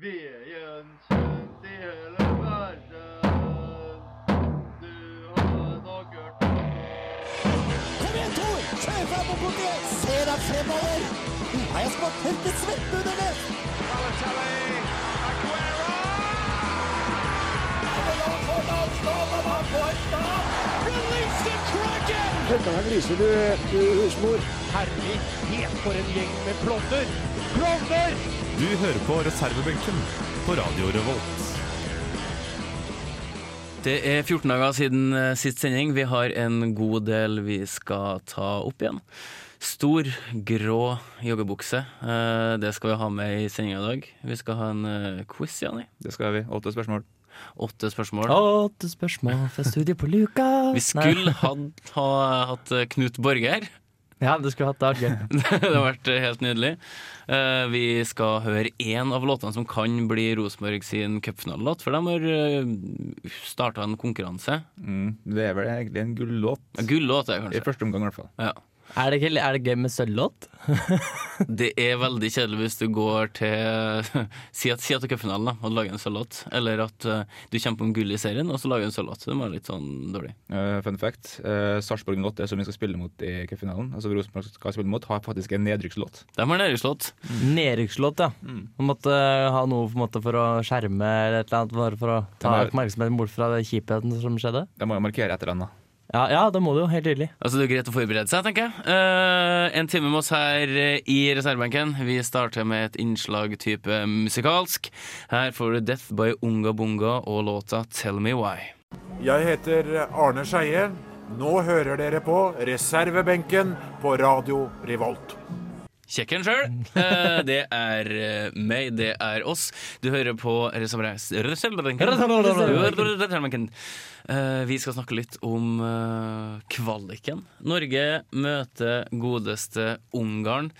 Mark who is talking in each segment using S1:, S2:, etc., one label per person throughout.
S1: ved gjenkjent i hele verden. Du har nok hørt om
S2: Kom igjen, Tor! Kjør fram og bort igjen! Se deg fremover! Nå har jeg smakt tørket svette under det!
S3: Du hører på reservebenken på Radio Revolt.
S4: Det er 14 dager siden eh, sist sending. Vi har en god del vi skal ta opp igjen. Stor, grå joggebukse. Eh, Det skal vi ha med i sendinga i dag. Vi skal ha en eh, quiz, Jani.
S5: Det skal vi. Åtte spørsmål.
S4: Åtte spørsmål.
S6: Åtte spørsmål fra studio på luka.
S4: Vi skulle ha, ha hatt eh, Knut Borge her.
S6: Ja, du skulle hatt det. hadde vært gøy.
S4: Det har vært helt nydelig. Eh, Vi skal høre én av låtene som kan bli Rosenborg sin cupfinalelåt, for de har starta en konkurranse.
S5: Mm. Det er vel egentlig en gullåt.
S4: Gullåt er det
S5: I
S4: kanskje.
S5: første omgang, i hvert fall.
S4: Ja.
S6: Er det, ikke, er det gøy med sølvlåt?
S4: Det er veldig kjedelig hvis du går til Si at, si at det er cupfinalen da, og lager en sølvlåt, eller at eh, du kjemper om gull i serien og så lager du en sølvlåt. Det må være litt sånn dårlig.
S5: Eh, fun fact. Uh, Sarpsborg 08, som vi skal spille mot i cupfinalen, altså Rosenborg skal spille mot, har faktisk en nedrykkslåt.
S4: De har nedrykkslåt.
S6: Nedrykkslåt, ja. Man måtte eh, ha noe på en måte for å skjerme eller et eller annet, bare for å ta
S5: Ja, men-
S6: oppmerksomheten bort fra det kjipheten som skjedde.
S5: De må jo markere et eller annet.
S6: Ja, ja, det må du jo, helt tydelig.
S4: Altså, det er greit å forberede seg, tenker jeg. Eh, en time med oss her eh, i reservebenken. Vi starter med et innslag type musikalsk. Her får du Death by Unga Bunga og låta Tell Me Why.
S7: Jeg heter Arne Skeie. Nå hører dere på reservebenken på Radio Revolt.
S4: Kjekken sjøl. det er eh, meg, det er oss. Du hører på Reservebenken. Reservebenken. Eh, Vi skal snakke litt om eh, kvaliken. Norge møter godeste Ungarn.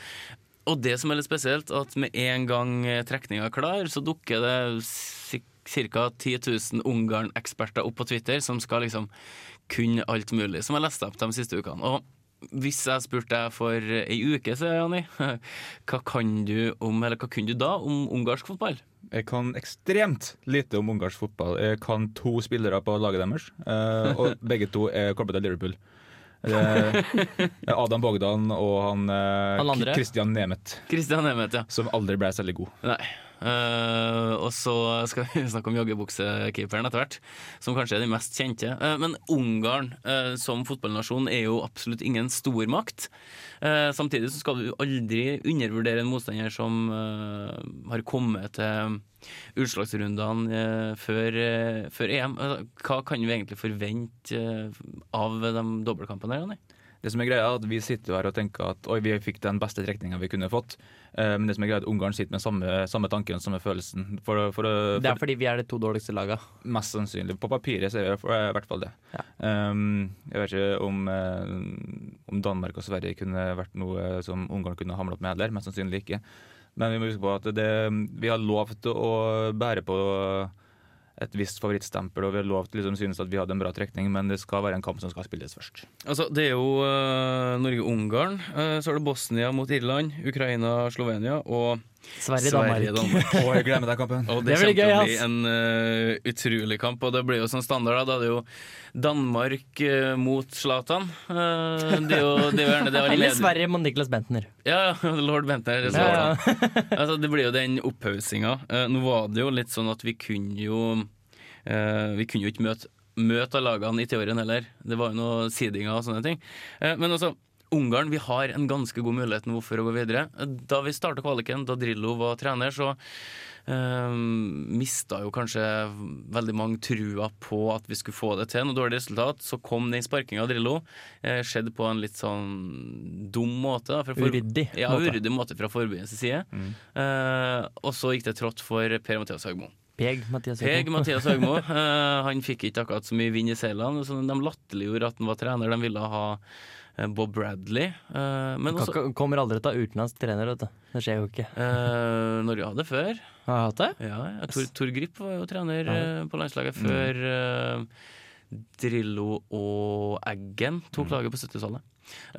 S4: Og det som er litt spesielt, at med en gang trekninga er klar, så dukker det ca. 10 000 Ungarn-eksperter opp på Twitter som skal liksom kunne alt mulig, som jeg leste opp de siste ukene. Og hvis jeg spurte deg for ei uke siden, Jani, hva kan du om, eller hva kunne du da om ungarsk fotball?
S5: Jeg kan ekstremt lite om ungarsk fotball. Jeg kan to spillere på laget deres, eh, og begge to er klubbet til Liverpool. Det er Adam Bogdan og han, eh,
S6: Han andre?
S5: Christian Nemeth,
S4: Kristian Nemeth, ja.
S5: som aldri ble særlig god.
S4: Nei. Eh, og så skal vi snakke om joggebuksekeeperen etter hvert, som kanskje er den mest kjente. Eh, men Ungarn eh, som fotballnasjon er jo absolutt ingen stormakt. Uh, samtidig så skal du aldri undervurdere en motstander som eh, har kommet til utslagsrundene eh, før, eh, før EM. Altså, hva kan vi egentlig forvente eh, av de dobbeltkampene her, Jonny?
S5: Det som er greia er at Vi sitter jo her og tenker at oi, vi fikk den beste trekninga vi kunne fått. Eh, men det som er greia er at Ungarn sitter med samme, samme tanken og samme følelsen. For, for, for,
S6: Det er fordi vi er de to dårligste laga.
S5: Mest sannsynlig. På papiret så er det eh, i hvert fall det. Um, jeg vet ikke om, eh, om Danmark og Sverige kunne vært noe som Ungarn kunne hamlet med heller. Mest sannsynlig ikke. Men vi må huske på at det, vi har lov til å bære på et visst favorittstempel, og vi har lov til å liksom, synes at vi hadde en bra trekning, men det skal være en kamp som skal spilles først.
S4: Altså, Det er jo eh, Norge-Ungarn. eh, så er det Bosnia mot Irland, Ukraina-Slovenia og
S6: Sverige, Danmark.
S4: Danmark.
S5: Og jeg glemmer den kampen.
S4: Og det,
S6: Det
S4: kommer til
S6: blir gøy,
S4: å bli
S6: ass.
S4: en eh, utrolig kamp. Og det blir jo sånn standard. Da Da er det jo Danmark eh, mot Zlatan. Eh, det, er jo, det er jo gjerne det
S6: Eller
S4: anledning-
S6: Sverige med Niklas Bentner.
S4: ja, ja, lord Bentner. det er
S6: Ja,
S4: Zlatan. altså, det blir jo den opphaussinga. Eh, nå var det jo litt sånn at vi kunne jo eh, Vi kunne jo ikke møte Møte av lagene i teorien heller. Det var jo noe sidinger og sånne ting. Eh, men altså, Ungarn vi har en ganske god mulighet nå for å gå videre. Eh, Da vi starta kvaliken, da Drillo var trener, så eh, mista jo kanskje veldig mange trua på at vi skulle få det til. Noe dårlig resultat. Så kom den sparkinga av Drillo. Eh, skjedde på en litt sånn dum måte. Da, for- for-
S6: Uryddig
S4: Ja,
S6: måte.
S4: uryddig måte fra forbundets side. Eh, og så gikk det trått for Per-Mathias Høgmo.
S6: Peg, Mathias
S4: Peg
S6: Høgmo.
S4: Mathias Høgmo eh, han fikk ikke akkurat så mye vind i seilene. Så de latterliggjorde at han var trener. De ville ha eh, Bob Bradley. eh, men
S6: Kan-
S4: også
S6: kan- Kommer aldri til å ha utenlandsk trener, vet du. Det skjer jo ikke.
S4: eh, Norge hadde før.
S6: Har jeg hatt det?
S4: Ja, ja. Tor, Tor Grip var jo trener eh, på landslaget
S6: Mm. Mm.
S4: før eh, Drillo og Eggen tok laget på 70-tallet.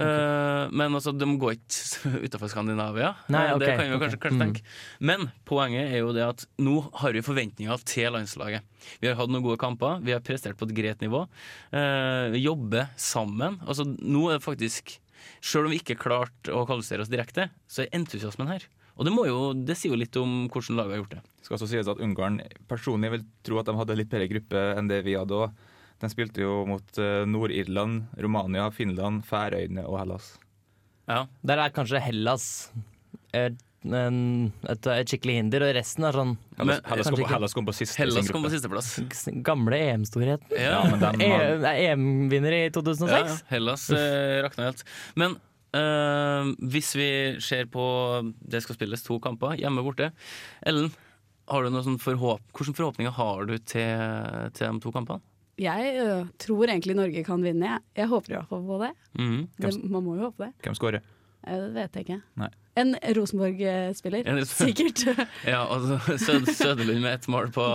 S4: Eh, Men altså, de går ikke utenfor Skandinavia.
S6: Nei,
S4: Eh,
S6: ok,
S4: det kan vi jo kanskje,
S6: ok.
S4: kanskje
S6: Mm.
S4: tenke. Men poenget er jo det at nå har vi forventninger til landslaget. Vi har hatt noen gode kamper, vi har prestert på et greit nivå. Eh, Vi jobber sammen. Altså, nå er det faktisk Selv om vi ikke klarte å kvalifisere oss direkte, så er entusiasmen her. Og det, må jo, det sier jo litt om hvordan laget har gjort det.
S5: Skal også sies at Ungarn personlig vil tro at de hadde litt bedre gruppe enn det vi hadde òg. De spilte jo mot eh, Nord-Irland, Romania, Finland, Færøyene og Hellas.
S4: Ja.
S6: Der er kanskje Hellas et, en- et, et skikkelig hinder, og resten er sånn
S5: Hellas,
S4: Men-
S5: Hellas, kom,
S6: kanskje
S5: på,
S6: ikke.
S5: Hellas kom på siste i
S4: Hellas
S5: sin
S4: kom på
S5: gruppe.
S4: sisteplass.
S6: gamle E EM-storhet.
S4: Ja,
S5: men dem har-
S6: E- EM-vinner i 2006.
S4: Ja, ja. Hellas eh, rakna helt. Men eh, hvis vi ser på Det skal spilles to kamper, hjemme og borte. Ellen, har du noe sånn forhåp hvilke forhåpninger har du til, til de to kampene?
S8: Jeg ø, tror egentlig Norge kan vinne, jeg. Jeg håper i hvert fall på det.
S4: Mhm.
S8: det man må jo håpe det.
S5: Hvem skårer?
S8: Eh, Det vet jeg ikke.
S5: Nei.
S8: En Rosenborg-spiller,
S4: En Rosenborg-
S8: sikkert.
S4: Ja, altså Sød Søderlund med ett mål på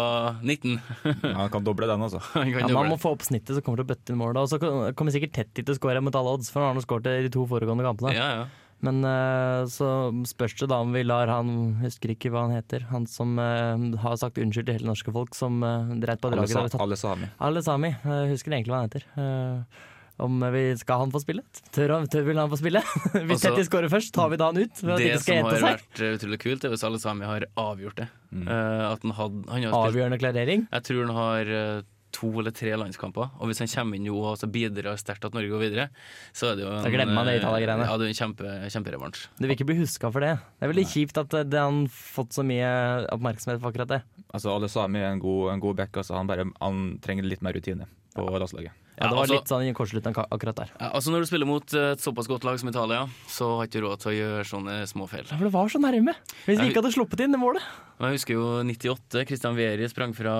S4: 19.
S5: Ja, han kan doble den, altså.
S4: Han kan
S6: Ja,
S4: doble.
S6: man må få opp snittet, så kommer det å bøtte inn mål. da. Og så kan- kommer sikkert Tetty til å skåre mot alle odds, for han har nå skåret i de to foregående kampene.
S4: ja, ja.
S6: Men eh, så spørs det da om vi lar han, husker ikke hva han heter, han som eh, har sagt unnskyld til hele norske folk, som eh, dreit på
S5: Alle,
S6: draget da vi
S5: sa,
S6: tatt
S5: alle sami.
S6: Alle Sami, jeg husker egentlig hva han heter. Eh, om vi skal han få spille? Tør, han, tør vil han få spille? Hvis
S4: Altså,
S6: Tetty skårer først, tar vi da han ut? For at det
S4: Det
S6: ikke
S4: som
S6: skal
S4: har
S6: hente seg.
S4: vært eh, utrolig kult, er hvis alle sammen har avgjort det. Eh, at han hadde, han har spilt
S6: Avgjørende klarering.
S4: Jeg tror han har eh, to eller tre landskamper. Og hvis han kommer inn nå og så bidrar sterkt at Norge går videre, så er det jo en,
S6: Da glemmer han det
S4: eh,
S6: Italia-greiene.
S4: Ja, det er en kjempe, kjemperevansj.
S6: Du vil ikke bli huska for det. Det er veldig kjipt at eh, det han fått så mye oppmerksomhet for akkurat det.
S5: Altså, alle sami er en god, en god back. Altså, han, bare, han trenger litt mer rutine på landslaget.
S6: Ja,
S4: Ja,
S6: det var
S4: altså-
S6: litt sånn i kortslutten ak- akkurat der.
S4: Ja, altså Når du spiller mot eh, et såpass godt lag som Italia, så har ikke du råd til å gjøre sånne småfeil.
S6: For det var så nærme! Hvis vi ikke hadde sluppet inn det målet.
S4: Men Jeg husker jo 98. Christian Vieri sprang fra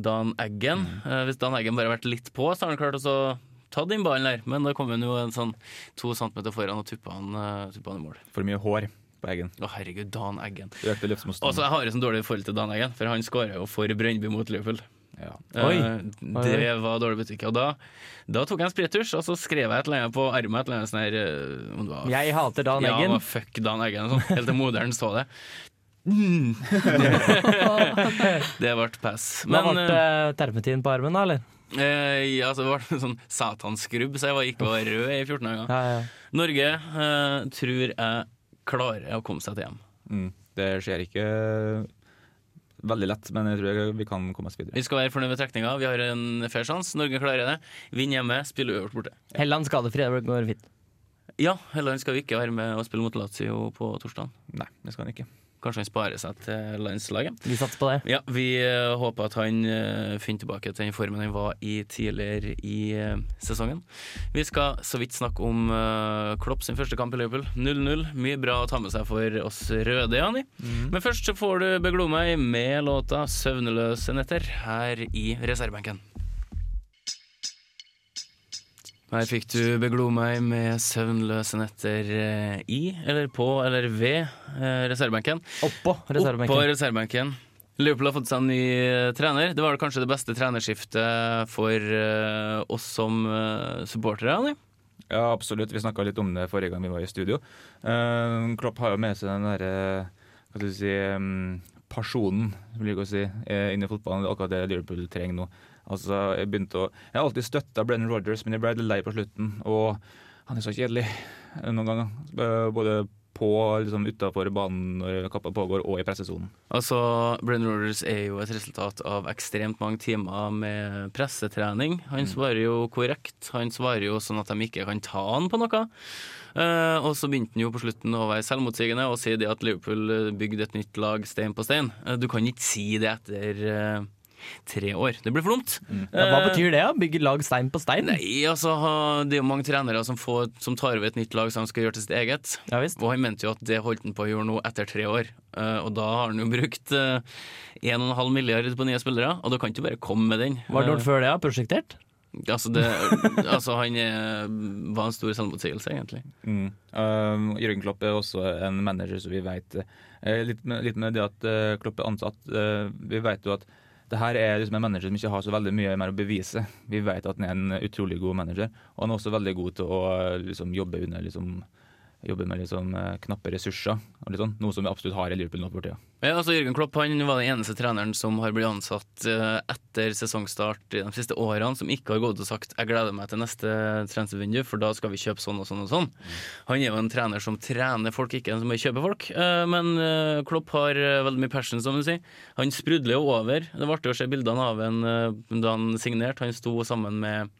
S4: Dan Eggen.
S6: Mm.
S4: Eh, hvis Dan Eggen bare har vært litt på, så har han klart å så ta den ballen der. Men da kom han jo en sånn to centimeter foran og tuppa han, eh, tuppa han i mål.
S5: For mye hår på Eggen.
S4: Å herregud, Dan Eggen.
S5: Økte
S4: Altså,
S5: løftemotstand.
S4: Jeg har et sånn dårlig forhold til Dan Eggen, for han skåra jo for Brøndby mot Liverpool.
S5: Ja.
S6: Oi.
S4: Eh, Det var dårlig butikk. Og da, da tok jeg en sprittusj, og så skrev jeg et eller annet på armen. Et eller annet sånn her, eh, om det var,
S6: Jeg hater Dan
S4: Ja, det
S6: Eggen.
S4: var fuck Dan Eggen. og Sånn, helt til moderen så det. Mm. det ble pass.
S6: Hva
S4: Men
S6: ble eh, terpetiden på armen, da, eller?
S4: eh, ja, så ble det sånn satanskrubb, så jeg var, gikk og var rød i 14 dager.
S6: Ja, ja.
S4: Norge eh, tror jeg klarer å komme seg til hjem.
S5: Mm. Det skjer ikke eh, veldig lett, men jeg tror vi kan komme oss videre.
S4: Vi skal være fornøyd med trekninga. Vi har en fair sjanse. Norge klarer det. Vinn hjemme, spill uavgjort borte.
S6: Helland skadefri, det går fint.
S4: Ja, Helland skal vi ikke være med og spille mot Lazio på torsdag.
S5: Nei, det skal han ikke.
S4: Kanskje han sparer seg til landslaget.
S6: Vi satser på det.
S4: Ja, Vi eh, håper at han eh, finner tilbake til den formen han var i tidligere i eh, sesongen. Vi skal så vidt snakke om eh, Klopp sin første kamp i Liverpool. 0-0. Mye bra å ta med seg for oss røde, Jani. Men først så får du Beglo meg med låta 'Søvnløse netter' her i reservebenken. Her fikk du Beglo meg med 'Søvnløse netter' eh, i, eller på, eller ved eh, reservebenken.
S6: Oppå
S4: Opp på
S6: reservebenken.
S4: reservebenken. Liverpool har fått seg en ny eh, trener. Det var kanskje det beste trenerskiftet for eh, oss som eh, supportere. Anni.
S5: Ja, absolutt. Vi snakka litt om det forrige gang vi var i studio. Eh, Klopp har jo med seg den derre Hva skal du si um, Personen, vil jeg ikke si, eh, inn i fotballen. Det er akkurat det Liverpool trenger nå. Altså, Jeg begynte å Jeg har alltid støtta Brennan Rogers, men jeg ble litt lei på slutten. Og han er så kjedelig eh, noen ganger. Eh, Både på liksom utafor banen når kappa pågår, og i pressesonen.
S4: Altså, Brennan Rodgers er jo et resultat av ekstremt mange timer med pressetrening. Han svarer jo korrekt. Han svarer jo sånn at de ikke kan ta han på noe. Eh, og så begynte han jo på slutten å være selvmotsigende og si det at Liverpool eh, bygde et nytt lag stein på stein. Eh, du kan ikke si det etter eh, tre år. Det blir for dumt.
S6: Ja, hva
S4: Eh,
S6: betyr det? da? Bygge lag stein på stein?
S4: Nei, altså ha- Det er jo mange trenere som, får, som tar over et nytt lag som skal gjøre til sitt eget.
S6: Ja visst.
S4: Og han mente jo at det holdt han på å gjøre nå etter tre år. Eh, og da har han jo brukt eh, 1,5 milliard på nye spillere, og da kan du ikke bare komme med den.
S6: Hva har du gjort før det, da? Prosjektert?
S4: Eh, altså, det, altså, han eh, var en stor selvmotsigelse, egentlig.
S5: Mm. Um, Jørgen Klopp er også en manager, så eh, vi veit litt, med- litt med det at eh, Klopp er ansatt. eh, vi veit jo at de Det her er liksom en manager som ikke har så veldig mye mer å bevise. Vi vet at han er en utrolig god manager, og han er også veldig god til å liksom, jobbe, under, liksom, jobbe med liksom, eh, knappe ressurser. Og litt sånn, noe som vi absolutt har i Liverpool nå for tida.
S4: Ja, altså Jørgen Klopp han var den eneste treneren som har blitt ansatt eh, etter sesongstart i de siste årene, som ikke har gått og sagt 'jeg gleder meg til neste transfervindu, for da skal vi kjøpe sånn og sånn og sånn'. Han er jo en trener som trener folk, ikke en som bare kjøper folk. Eh, Men eh, Klopp har eh, veldig mye passion, som du sier. Han sprudler jo over. Det var artig å se bildene av han eh, da han signerte. Han sto sammen med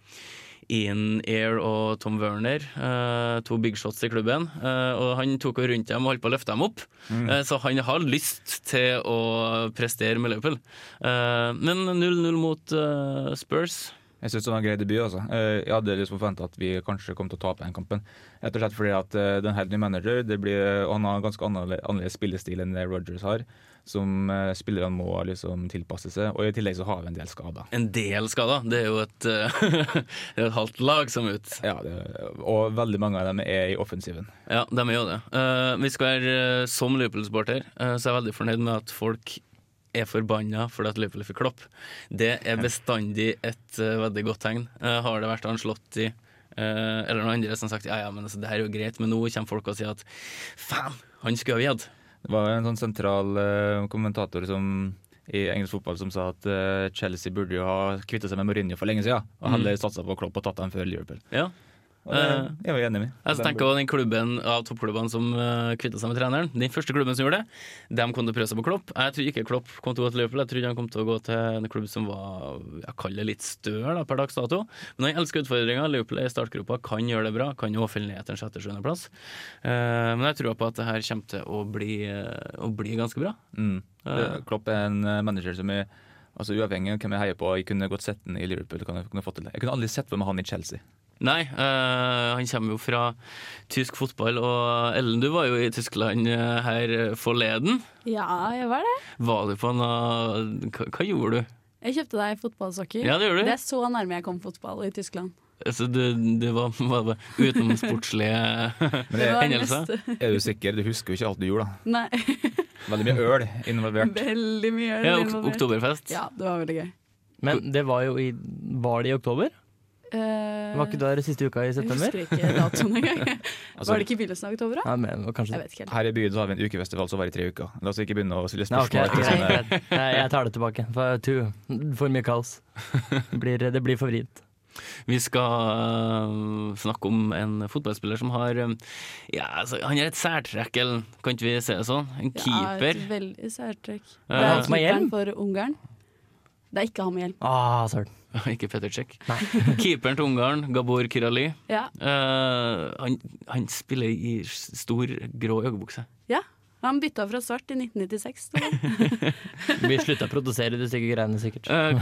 S4: Ian Air og Tom Werner, eh, to big shots i klubben. eh, og han tok jo rundt dem og holdt på å løfte dem opp. Eh, så han har lyst til å prestere med Liverpool. Eh, men 0-0 mot eh, Spurs.
S5: Jeg synes det var en grei debut. altså. Eh, Jeg hadde liksom forventa at vi kanskje kom til å tape den kampen. Rett og slett fordi at eh, det er en helt ny manager. Det blir, og han har en ganske annerle- annerledes spillestil enn det Rogers har. Som eh, spillerne må liksom tilpasse seg. Og i tillegg så har vi en del skader.
S4: En del skader. Det er jo et, eh, det er jo et halvt lag som er ute.
S5: Ja, det, og veldig mange av dem er i offensiven.
S4: Ja, de er jo det. Eh, vi skal være eh, som Liverpool-supporter, eh, så er jeg veldig fornøyd med at folk er forbanna fordi at Liverpool fikk klopp. Det er bestandig et eh, veldig godt tegn. Eh, har det vært Ancelotti eh, eller noen andre som har sagt ja, ja, men altså, det her er jo greit, men nå kommer folk og sier at faen, han skulle ha gitt.
S5: Det var en sånn sentral eh, kommentator som, i engelsk fotball som sa at eh, Chelsea burde jo ha kvitta seg med Mourinho for lenge siden. Og
S4: Mm.
S5: heller satsa på Klopp og tatt dem før Liverpool.
S4: Ja.
S5: Og det jeg er jeg jo enig med.
S4: Eh, Jeg tenker også den klubben av toppklubbene som uh, kvitta seg med treneren. Den første klubben som gjorde det, de kom til å prøve seg på Klopp. Jeg tror ikke Klopp kom til å gå til Liverpool, jeg trodde han kom til å gå til en klubb som var jeg kaller det litt støl da, per dags dato. Men han elsker utfordringer. Liverpool er i startgropa, kan gjøre det bra. Kan jo fylle ned til en sjette-sjuendeplass. Uh, men jeg tror på at det her kommer til å bli, eh, å bli ganske bra.
S5: Mm. Det,
S4: Ja.
S5: Klopp er en eh, manager som er altså uavhengig av hvem jeg heier på. Jeg kunne godt sett han i Liverpool. Kan jeg, kunne fått til det. jeg kunne aldri sett for meg han i Chelsea.
S4: Nei, eh, han kommer jo fra tysk fotball, og Ellen, du var jo i Tyskland eh, her forleden.
S8: Ja, jeg var det.
S4: Var du på noe Hva, hva gjorde du?
S8: Jeg kjøpte deg fotballsokker.
S4: Ja, det gjorde du.
S8: Det er så nærme jeg kom fotball i Tyskland.
S4: Altså, det, det var, var det utenomsportslige
S5: Men det,
S8: var
S4: hendelser?
S8: neste-
S5: er du sikker? Du husker jo ikke alt du gjorde, da.
S8: Nei,
S5: Veldig mye øl involvert.
S8: veldig mye øl
S4: ja, ok-
S8: involvert.
S4: Oktoberfest.
S8: Ja, det var veldig gøy.
S6: Men det var jo i Var det i oktober?
S8: Eh,
S6: Var ikke det den siste uka i
S8: jeg
S6: september?
S8: husker ikke datoen engang.
S5: Altså,
S8: Var det ikke i begynnelsen av oktober? da?
S6: Nei, men det var kanskje
S8: Jeg vet ikke helt.
S5: her i byen så har vi en ukefestival som varer i tre uker. La oss ikke begynne å stille
S6: Nei, ok,
S5: spørsmål. etter
S6: greit,
S5: sånne-
S6: greit. Nei, jeg tar det tilbake. For, too, for mye kaos. Det blir, det blir for vrient.
S4: Vi skal øh, snakke om en fotballspiller som har øh, ja, altså, Han har et særtrekk, eller kan ikke vi se det sånn? En
S8: Ja,
S4: keeper.
S8: et veldig særtrekk.
S4: Ja.
S8: Det er
S6: Han som har
S8: keeperen
S6: hjelm?
S8: for Ungarn. Det er ikke han med hjelm.
S6: Ah, søren.
S4: ikke Peter Cech. Keeperen til Ungarn, Gabor Kirali.
S8: Ja,
S4: han, han spiller i s- stor, grå joggebukse.
S8: ja. Han bytta fra svart i 1996. tror jeg.
S6: Vi slutta å produsere de stygge greiene, sikkert.
S4: Eh,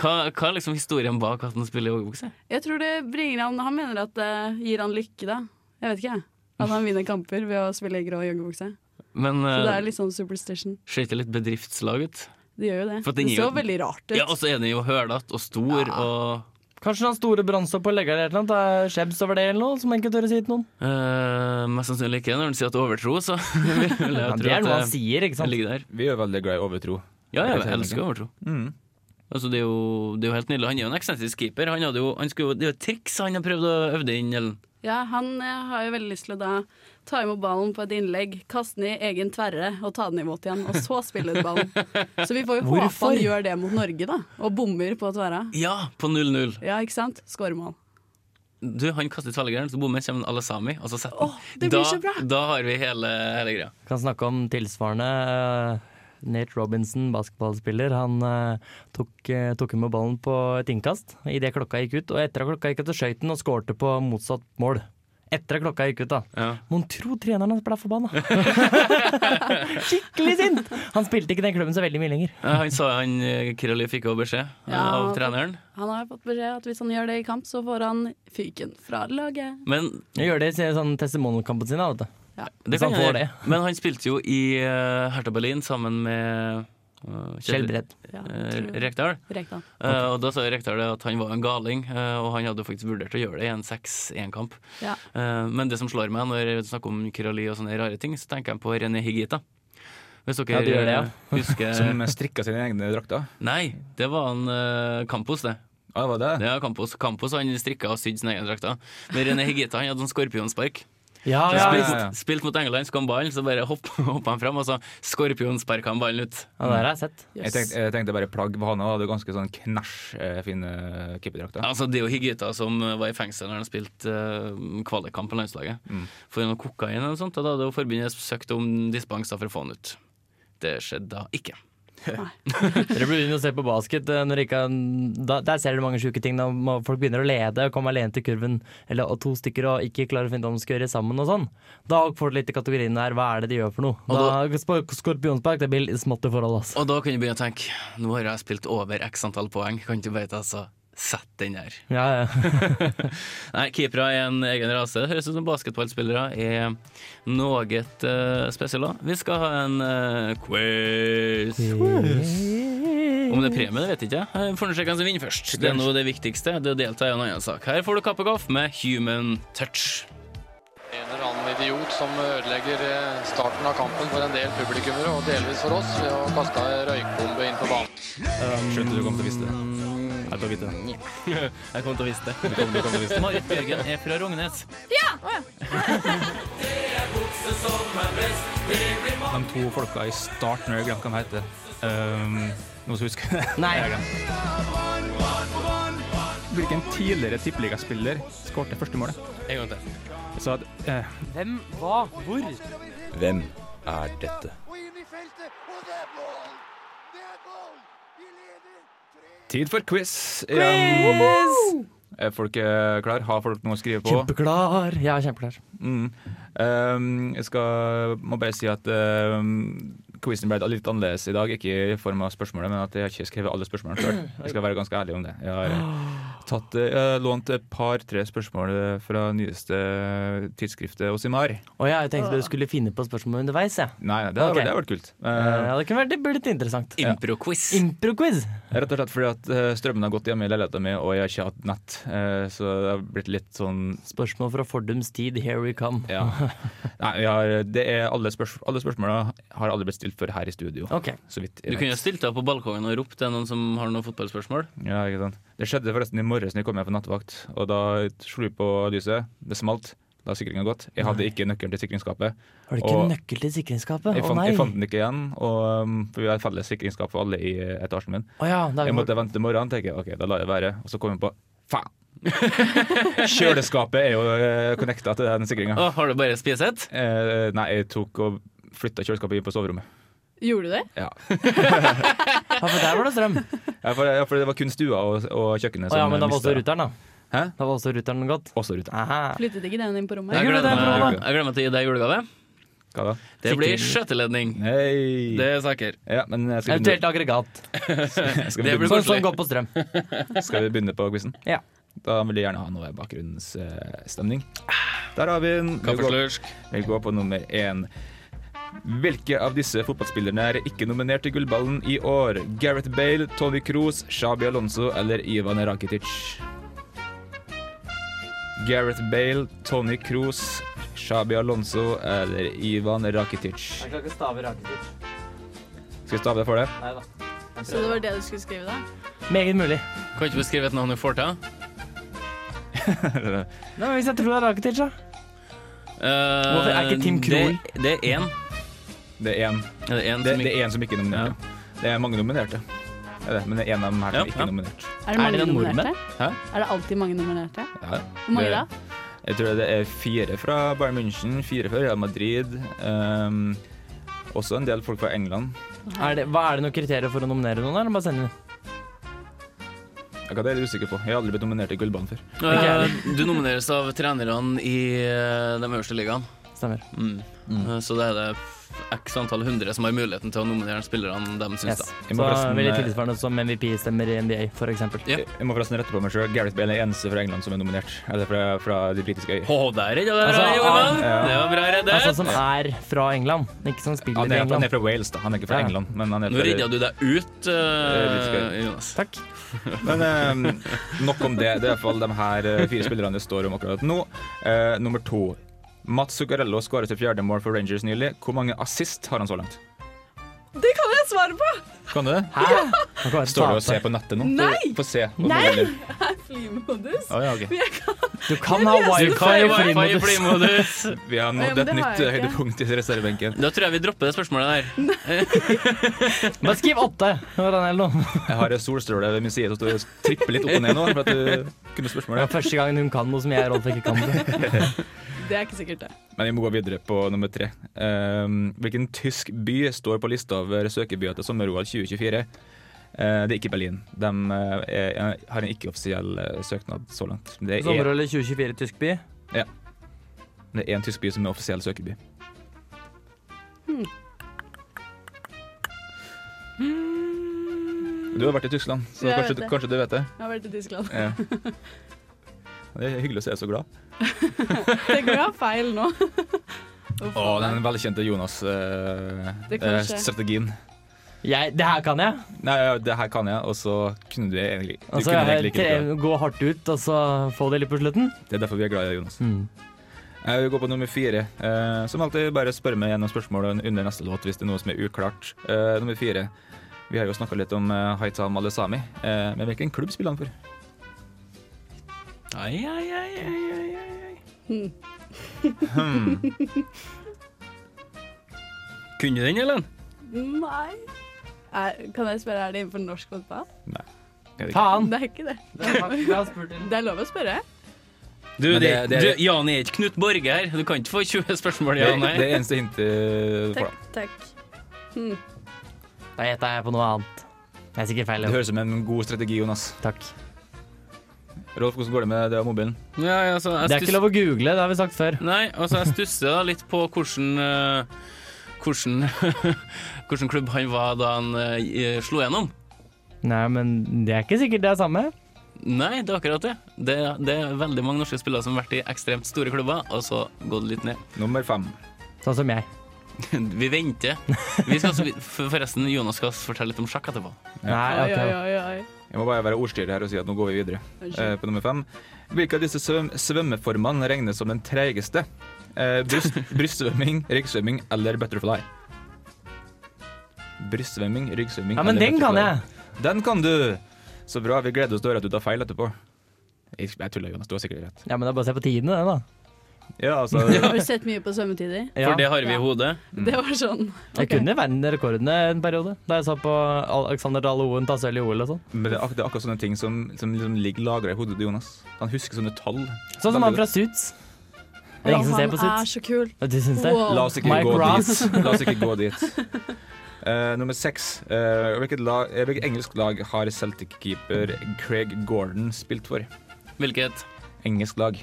S4: hva, hva er liksom historien bak at han spiller i joggebukse?
S8: Jeg tror det bringer han Han mener at det gir han lykke, da. Jeg vet ikke, jeg. At han vinner kamper ved å spille i grå joggebukse.
S4: Men
S8: Så det er
S4: uh,
S8: litt sånn superstition.
S4: ser ikke det litt bedriftslag ut?
S8: Det gjør jo det.
S4: For den
S8: Det
S4: gir
S8: så
S4: jo-
S8: veldig rart ut.
S4: Ja, altså- og så er den jo hølete og stor og
S6: Kanskje den store brannstoppa legger det et eller annet? Det er skjebs over det eller noe, som ikke tør å si til noen?
S4: Eh, mest sannsynlig ikke. Når han sier at det er overtro, så vil jeg tro
S6: Ja,
S4: at
S6: det er noe han
S4: det
S6: sier, ikke sant?
S4: ligger der.
S5: Vi er jo veldig glad i overtro.
S4: Ja,
S5: Det er
S4: jeg
S5: helt
S4: elsker overtro.
S6: Mm.
S4: Altså, det, er jo, det er jo helt nydelig. Han er jo en eksentrisk keeper. Han hadde jo, han skulle, jo- det er jo et triks han har prøvd å øve det inn. Eller.
S8: Ja, han eh, har jo veldig lyst til å da ta imot ballen på et innlegg, kaste den i egen tverre og ta den imot igjen, og så spille ut ballen. Så vi får jo håpe
S6: Hvorfor?
S8: han gjør det mot Norge, da, og bommer på tverra.
S4: Ja, på 0-0.
S8: Ja, ikke sant? Skåremål.
S4: Du, Han kaster tverrleggeren, så bommer kommer en Alasami, og så setter han.
S8: Åh, det blir
S4: da,
S8: så bra!
S4: da har vi hele, hele greia.
S6: Kan snakke om tilsvarende. eh, Nate Robinson, basketballspiller, han eh, tok, eh, tok med ballen på et innkast idet klokka gikk ut. Og etter at klokka gikk ut, så skøyt han og skårte på motsatt mål. Etter at klokka gikk ut, da.
S4: Ja.
S6: Mon tro treneren hans ble forbanna! Skikkelig sint! Han spilte ikke i den klubben så veldig mye lenger.
S4: Eh, Han sa han eh, Kirali fikk jo beskjed eh,
S8: Ja.
S4: av treneren.
S8: Han har fått beskjed at hvis han gjør det i kamp, så får han fyken fra laget.
S4: Men
S6: Jeg gjør det i sånn testimonialkampen sin, da, vet du.
S4: det
S6: Hvis han
S4: kan han
S6: får
S4: gjøre. Men han spilte jo i eh, Hertha Berlin sammen med eh,
S6: Kjell Bredd.
S8: Ja,
S4: eh,
S8: tror jeg.
S4: Rekdal.
S8: Rekdal.
S4: Eh, og da sa Rekdal det at han var en galing, eh, og han hadde jo faktisk vurdert å gjøre det i en 6-1-kamp.
S8: Ja.
S4: Eh, men det som slår meg når jeg snakker om Kirali og sånne rare ting, så tenker jeg på René Higita. Hvis dere
S6: Ja, de gjør det, ja.
S4: eh, husker
S3: Som strikka sine egne drakter.
S4: Nei, det var han eh, Campos, det.
S3: Ja, det var det.
S4: Det er Campos. Campos han strikka og sydde sine egne drakter. Men René Hegita han hadde en skorpionspark.
S6: Ja,
S4: Ja,
S3: ja,
S4: spilt,
S3: ja.
S4: mot- spilt mot England, skal han ballen, så bare hopp- hoppa han fram, og så skorpionsparka han ballen ut.
S6: det der har jeg sett.
S3: Jeg tenkte, jeg tenkte bare plagg på han hadde ganske sånn knæsj eh, fine eh, kippedrakter.
S4: Altså, det er jo Higita som var i fengsel når han spilte uh, kvalikkamp på landslaget. For noe kokain eller noe sånt, og da hadde jo forbundet søkt om dispens da for å få han ut. Det skjedde da ikke.
S6: Dere burde begynne å se på basket. eh, Når det ikke, er- da, der ser dere mange sjuke ting. Da må- folk begynner å lede og kommer alene til kurven, eller og to stykker, og ikke klarer å finne ut hva de skal gjøre sammen og sånn. Da får du litt i kategorien der. Hva er det de gjør for noe? Da,
S4: Og
S6: sp- Skorpionspark, det blir litt smått i forhold, altså. ass.
S4: Og da kunne jeg begynne å tenke nå har jeg spilt over x antall poeng, kan ikke bare ta så sett den der.
S6: Ja, ja.
S4: Nei, keepere er en egen rase. Høres ut som basketballspillere er noe eh, spesielle. Vi skal ha en eh, quiz. Om det er premie, det vet jeg ikke. Jeg får nå se hvem som vinner først. Det er nå det viktigste. Det å delta er jo en annen sak. Her får du Kappekoff med Human Touch.
S1: En eller annen idiot som ødelegger eh, starten av kampen for en del publikummere, og delvis for oss, ved å kaste ei røykbombe inn på banen.
S3: Skjønte du kom til å vise det. Jeg tar vite det.
S4: Jeg kom til å vise det. Marit Bjørgen er fra Rognes.
S3: De to folka i starten, jeg glemte hva de heter. Um, noen som husker det?
S6: Nei.
S3: Jeg har glemt. Hvilken tidligere tippeligaspiller skårte første målet?
S4: En gang til.
S3: Så at, eh,
S9: Hvem er dette?
S3: tid for quiz. Quiz! Er folk eh, klar? Har folk noe å skrive på?
S6: Kjempeklar! Jeg er kjempeklar.
S3: Mm. Ehm, jeg skal, må bare si at ehm, quizen ble litt annerledes i dag. Ikke i form av spørsmålet, men at jeg har ikke skrevet alle spørsmålene sjøl. Jeg skal være ganske ærlig om det. Jeg har eh, tatt, eh, jeg har lånt et par-tre spørsmål eh, fra nyeste tidsskriftet Osimar.
S6: Og jeg tenkte dere skulle finne på spørsmål underveis, jeg.
S3: Nei, nei, det har
S6: Ok.
S3: vært- det har vært kult.
S6: Eh,
S3: Eh,
S6: Ja, det kunne vært det burde vært interessant.
S4: Impro-quiz.
S6: Impro-quiz!
S3: rett og slett fordi at eh, strømmen har gått hjemme i leiligheten min, og jeg har ikke hatt nett. Eh, så det har blitt litt sånn
S6: Spørsmål fra fordums tid, here we come.
S3: ja. Nei, vi har, det er alle, spørs, alle spørsmåla har alle blitt stilt før her i studio.
S6: Ok.
S3: Så vidt jeg
S4: Du kunne
S3: vet.
S4: jo stilt deg opp på balkongen og ropt. Det er noen som har noen fotballspørsmål.
S3: Ja, ikke sant. Det skjedde forresten i morges når jeg kom hjem fra nattevakt. Og da slo jeg på lyset. Det smalt. Da har sikringa gått. Jeg hadde ikke nøkkelen til sikringsskapet.
S6: Har du ikke
S3: Og-
S6: nøkkel til sikringsskapet?
S3: Jeg
S6: Å
S3: fant,
S6: nei!
S3: jeg fant den ikke igjen, og, um, for vi har et felles sikringsskap for alle i eh, etasjen min.
S6: Å ja, da-
S3: Jeg måtte vente til morgenen, tenker jeg. Ok, da lar jeg være. Og så kom jeg på faen! Kjøleskapet er jo connecta til den sikringa.
S4: Å, har du bare spisett?
S3: Eh, nei, jeg tok og flytta kjøleskapet inn på soverommet.
S8: Gjorde du det?
S3: Ja.
S6: ja, for der var det strøm.
S3: Ja, for, ja, for det var kun stua og, og kjøkkenet
S6: Å ja,
S3: som
S6: men da var
S3: mistet-
S6: også ruteren, da.
S3: Hæ?
S6: Da var også ruteren gått.
S3: Også ruta.
S6: Aha.
S8: Flyttet ikke den inn på rommet?
S4: Jeg
S6: gjorde
S4: gleder
S6: det,
S3: jeg
S4: meg
S3: gjorde det.
S4: jeg gleder meg til å gi deg julegave.
S3: Hva da?
S4: Det blir skjøteledning.
S3: Hei!
S4: Det er saker.
S3: Ja, men jeg skal begynne-
S6: Eventuelt aggregat.
S3: Skal vi,
S4: Det blir
S3: begynne,
S6: Sånn som
S4: koselig.
S6: går på strøm.
S3: skal vi begynne på quizen?
S6: Ja.
S3: Da vil jeg gjerne ha noe bakgrunnsstemning. Der har vi den. Vi går,
S4: Kaffeslursk.
S3: vi går på nummer én. Hvilke av disse fotballspillerne er ikke nominert til gullballen i år? Gareth Bale, Tony Kroos, Shabi Alonso eller Ivan Rakitic? Gareth Bale, Tony Kroos, Shabi Alonso eller Ivan Rakitic?
S6: klarer ikke å stave raket
S3: Skal vi stave det for det?
S6: Nei da.
S8: Så det var det du skulle skrive da?
S6: Meget mulig.
S4: Kan ikke beskrive et navn du får til.
S6: Nei, men hvis jeg tror det er Rakitic, da.
S4: Hvorfor
S6: er ikke Tim Krul?
S4: Eh, Det, det er én.
S3: Det er én.
S4: Er det én
S3: Det,
S4: som
S3: det
S4: ikke
S3: er én som ikke er nominert. ja. Det er mange nominerte. Det er det, men det er en av dem her som
S4: Ja,
S3: ikke
S4: ja.
S3: er nominert.
S8: Er det
S6: Er det
S8: mange
S6: en
S8: nominerte?
S3: Hæ?
S8: Er det alltid mange nominerte?
S3: Ja,
S8: Hvor mange
S3: det-
S8: da?
S3: Jeg tror det er fire fra Bayern München, fire fra Real Madrid. ehm, også en del folk fra England.
S6: Er det, hva er det noen kriterier for å nominere noen, eller bare sende den?
S3: Hva det er jeg usikker på. Jeg har aldri blitt nominert til Gullbanen før.
S4: Eh, Du nomineres av trenerne i eh, de øverste ligaene.
S6: Stemmer.
S4: Mm. Eh, Så det er det f- x antall hundre som har muligheten til å nominere spillerne de syns,
S6: Yes.
S4: da.
S3: Jeg
S6: Så
S3: må forresten,
S6: veldig
S3: eh,
S6: tilsvarende som MVP-stemmer i NBA, for eksempel.
S4: Ja.
S3: Jeg jeg må forresten rette på meg sjøl. Gareth Bale er den eneste fra England som er nominert. Eller fra, fra de britiske øyer.
S4: Å, der er det bra,
S6: Altså,
S4: Johan!
S3: ja.
S4: Det var bra
S6: Altså
S4: reddet.
S6: som er fra England, ikke som spiller
S3: Han
S6: i
S3: er, han er
S6: England.
S3: fra Wales, da. Han er ikke fra
S6: Ja.
S3: England. Men, han er
S4: Nå redda
S3: fra,
S4: du deg ut, eh,
S3: Eh,
S4: Jonas.
S6: Takk.
S3: men ehm, nok om det. Det er i hvert fall de her eh, fire spillerne det står om akkurat nå. Eh, nummer to. Mats Zuccarello skåret sitt fjerde mål for Rangers nylig. Hvor mange assist har han så langt?
S8: Det kan jeg svare på!
S3: Kan du det?
S6: Nå kan jeg
S3: Står du og
S6: tape.
S3: ser på nettet nå?
S8: Nei!
S3: Få se. om du
S8: Nei!
S3: vil.
S8: Jeg er flymodus.
S3: Å, ja, ok.
S8: Men jeg kan
S6: Du kan ha
S4: Du kan
S6: wifi
S4: jo
S6: i
S4: wifi i
S6: flymodus.
S4: flymodus.
S3: Vi har
S8: Ja, men
S3: nådd et
S8: det har
S3: nytt eh,
S8: jeg ikke.
S3: høydepunkt i reservebenken.
S4: Da tror jeg vi dropper det spørsmålet der.
S6: Men skriv åtte. Det var den eller noe.
S3: Jeg har en solstråle ved min side som står og tripper litt opp og ned nå. For at du kunne
S6: Det
S3: spørsmålet
S6: var første gangen hun kan noe som jeg og Rolf ikke kan. Det.
S8: Det er ikke sikkert, det.
S3: Men vi må gå videre på nummer tre. Ehm, hvilken tysk by står på lista over søkebyer til sommer-OL 2024? Eh, det er ikke Berlin. De eh, er, har en ikke-offisiell eh, søknad så langt. Men Det er,
S6: Sommerølet 2024 i Tyskby.
S3: det er en tysk by som er offisiell søkeby. Hmm. Du har vært i Tyskland, så
S8: Jeg
S3: kanskje,
S8: vet det.
S3: kanskje du vet det.
S8: Jeg har vært i Tyskland.
S3: Ja. Det er hyggelig å se deg så glad.
S8: Det går av feil nå. Uff,
S3: Å, den velkjente eh, Jonas-strategien.
S8: Det kan skje.
S6: Jeg, det her kan jeg.
S3: Nei, det her kan jeg, og så kunne du egentlig, du
S6: Og så
S3: kunne egentlig ikke det.
S6: tre- gå hardt ut, og så få det litt på slutten.
S3: Det er derfor vi er glad i deg, Jonas.
S6: Mm.
S3: Jeg vil gå på nummer fire. Eh, som alltid, bare spør meg gjennom spørsmålet under neste låt hvis det er noe som er uklart. Eh, nummer fire. Vi har jo snakka litt om eh, Haitam Alesami, eh, men hvilken klubb spiller han for?
S4: Ai, ai, ai, ai, ai, ai. Kunne du den, Ellen?
S8: Nei. Er, kan jeg spørre, er det innenfor norsk fotball?
S6: Faen!
S8: Det er ikke det.
S6: Nei,
S8: Det er lov å spørre.
S4: Du,
S3: Men
S4: det,
S3: det- det-
S4: du, Jan er ikke Knut Borge her. Du kan ikke få 20 spørsmål,
S3: Det,
S4: Jan.
S3: det
S4: Nei.
S3: eneste hintet for
S8: Takk.
S3: deg.
S8: takk.
S6: gjetta jeg på noe annet. Det er sikkert feil.
S3: Det
S6: jo.
S3: høres ut som en god strategi, Jonas.
S6: Takk.
S3: Rolf, hvordan går det med det av mobilen?
S4: Ja, ja, så altså, jeg
S6: Det er
S4: stuss-
S6: ikke lov å google, det har vi sagt før.
S4: Nei, altså, jeg stusser da litt på hvordan eh, hvordan, hvordan klubb han var da han eh, slo gjennom.
S6: Nei, men det er ikke sikkert det er samme.
S4: Nei, det er akkurat det. det. Det er veldig mange norske spillere som har vært i ekstremt store klubber, og så gått litt ned.
S3: Nummer fem.
S6: Sånn som jeg.
S4: Vi venter. Vi skal, også- forresten, Jonas skal fortelle litt om sjakk etterpå.
S6: Nei,
S8: Oi,
S6: ok.
S8: oi, oi. oi.
S3: Jeg må bare være ordstyrer her og si at nå går vi videre. Eh,
S8: Unnskyld.
S3: på nummer fem. Hvilke av disse svøm svømmeformene regnes som den treigeste? Eh, bryst brystsvømming, ryggsvømming eller butterfly? Brystsvømming, ryggsvømming
S6: Ja, men
S3: eller
S6: den kan
S3: butterfly?
S6: jeg.
S3: Den kan du! Så bra. Vi gleder oss til å høre at du tar feil etterpå. Jeg jeg tuller, Jonas. Du har sikkert rett.
S6: Ja, men det er bare å se på tidene, det, da.
S3: Ja, altså
S8: Har du sett mye på svømmetider?
S6: Ja.
S4: For det har vi i hodet.
S3: Mm.
S8: Det var sånn.
S6: Jeg kunne verdensrekordene en periode, da jeg så på Alexander Dahl Oen ta sølv i OL og sånn.
S3: men det, er ak det er akkurat sånne ting som, som liksom ligger lagra i hodet til Jonas. Han husker sånne tall.
S6: Sånn som han fra Suits. Det er ingen som ser
S8: han
S6: på
S8: er
S6: Suits.
S8: så kul.
S6: Du syns det?
S8: Wow.
S3: La oss ikke
S6: Mike
S3: gå
S6: Ross.
S3: dit. La oss ikke gå dit. Eh, nummer seks. Eh, hvilket, lag, eh, hvilket engelsk lag har Celtic-keeper Craig Gordon spilt for?
S4: Hvilket
S3: Engelsk lag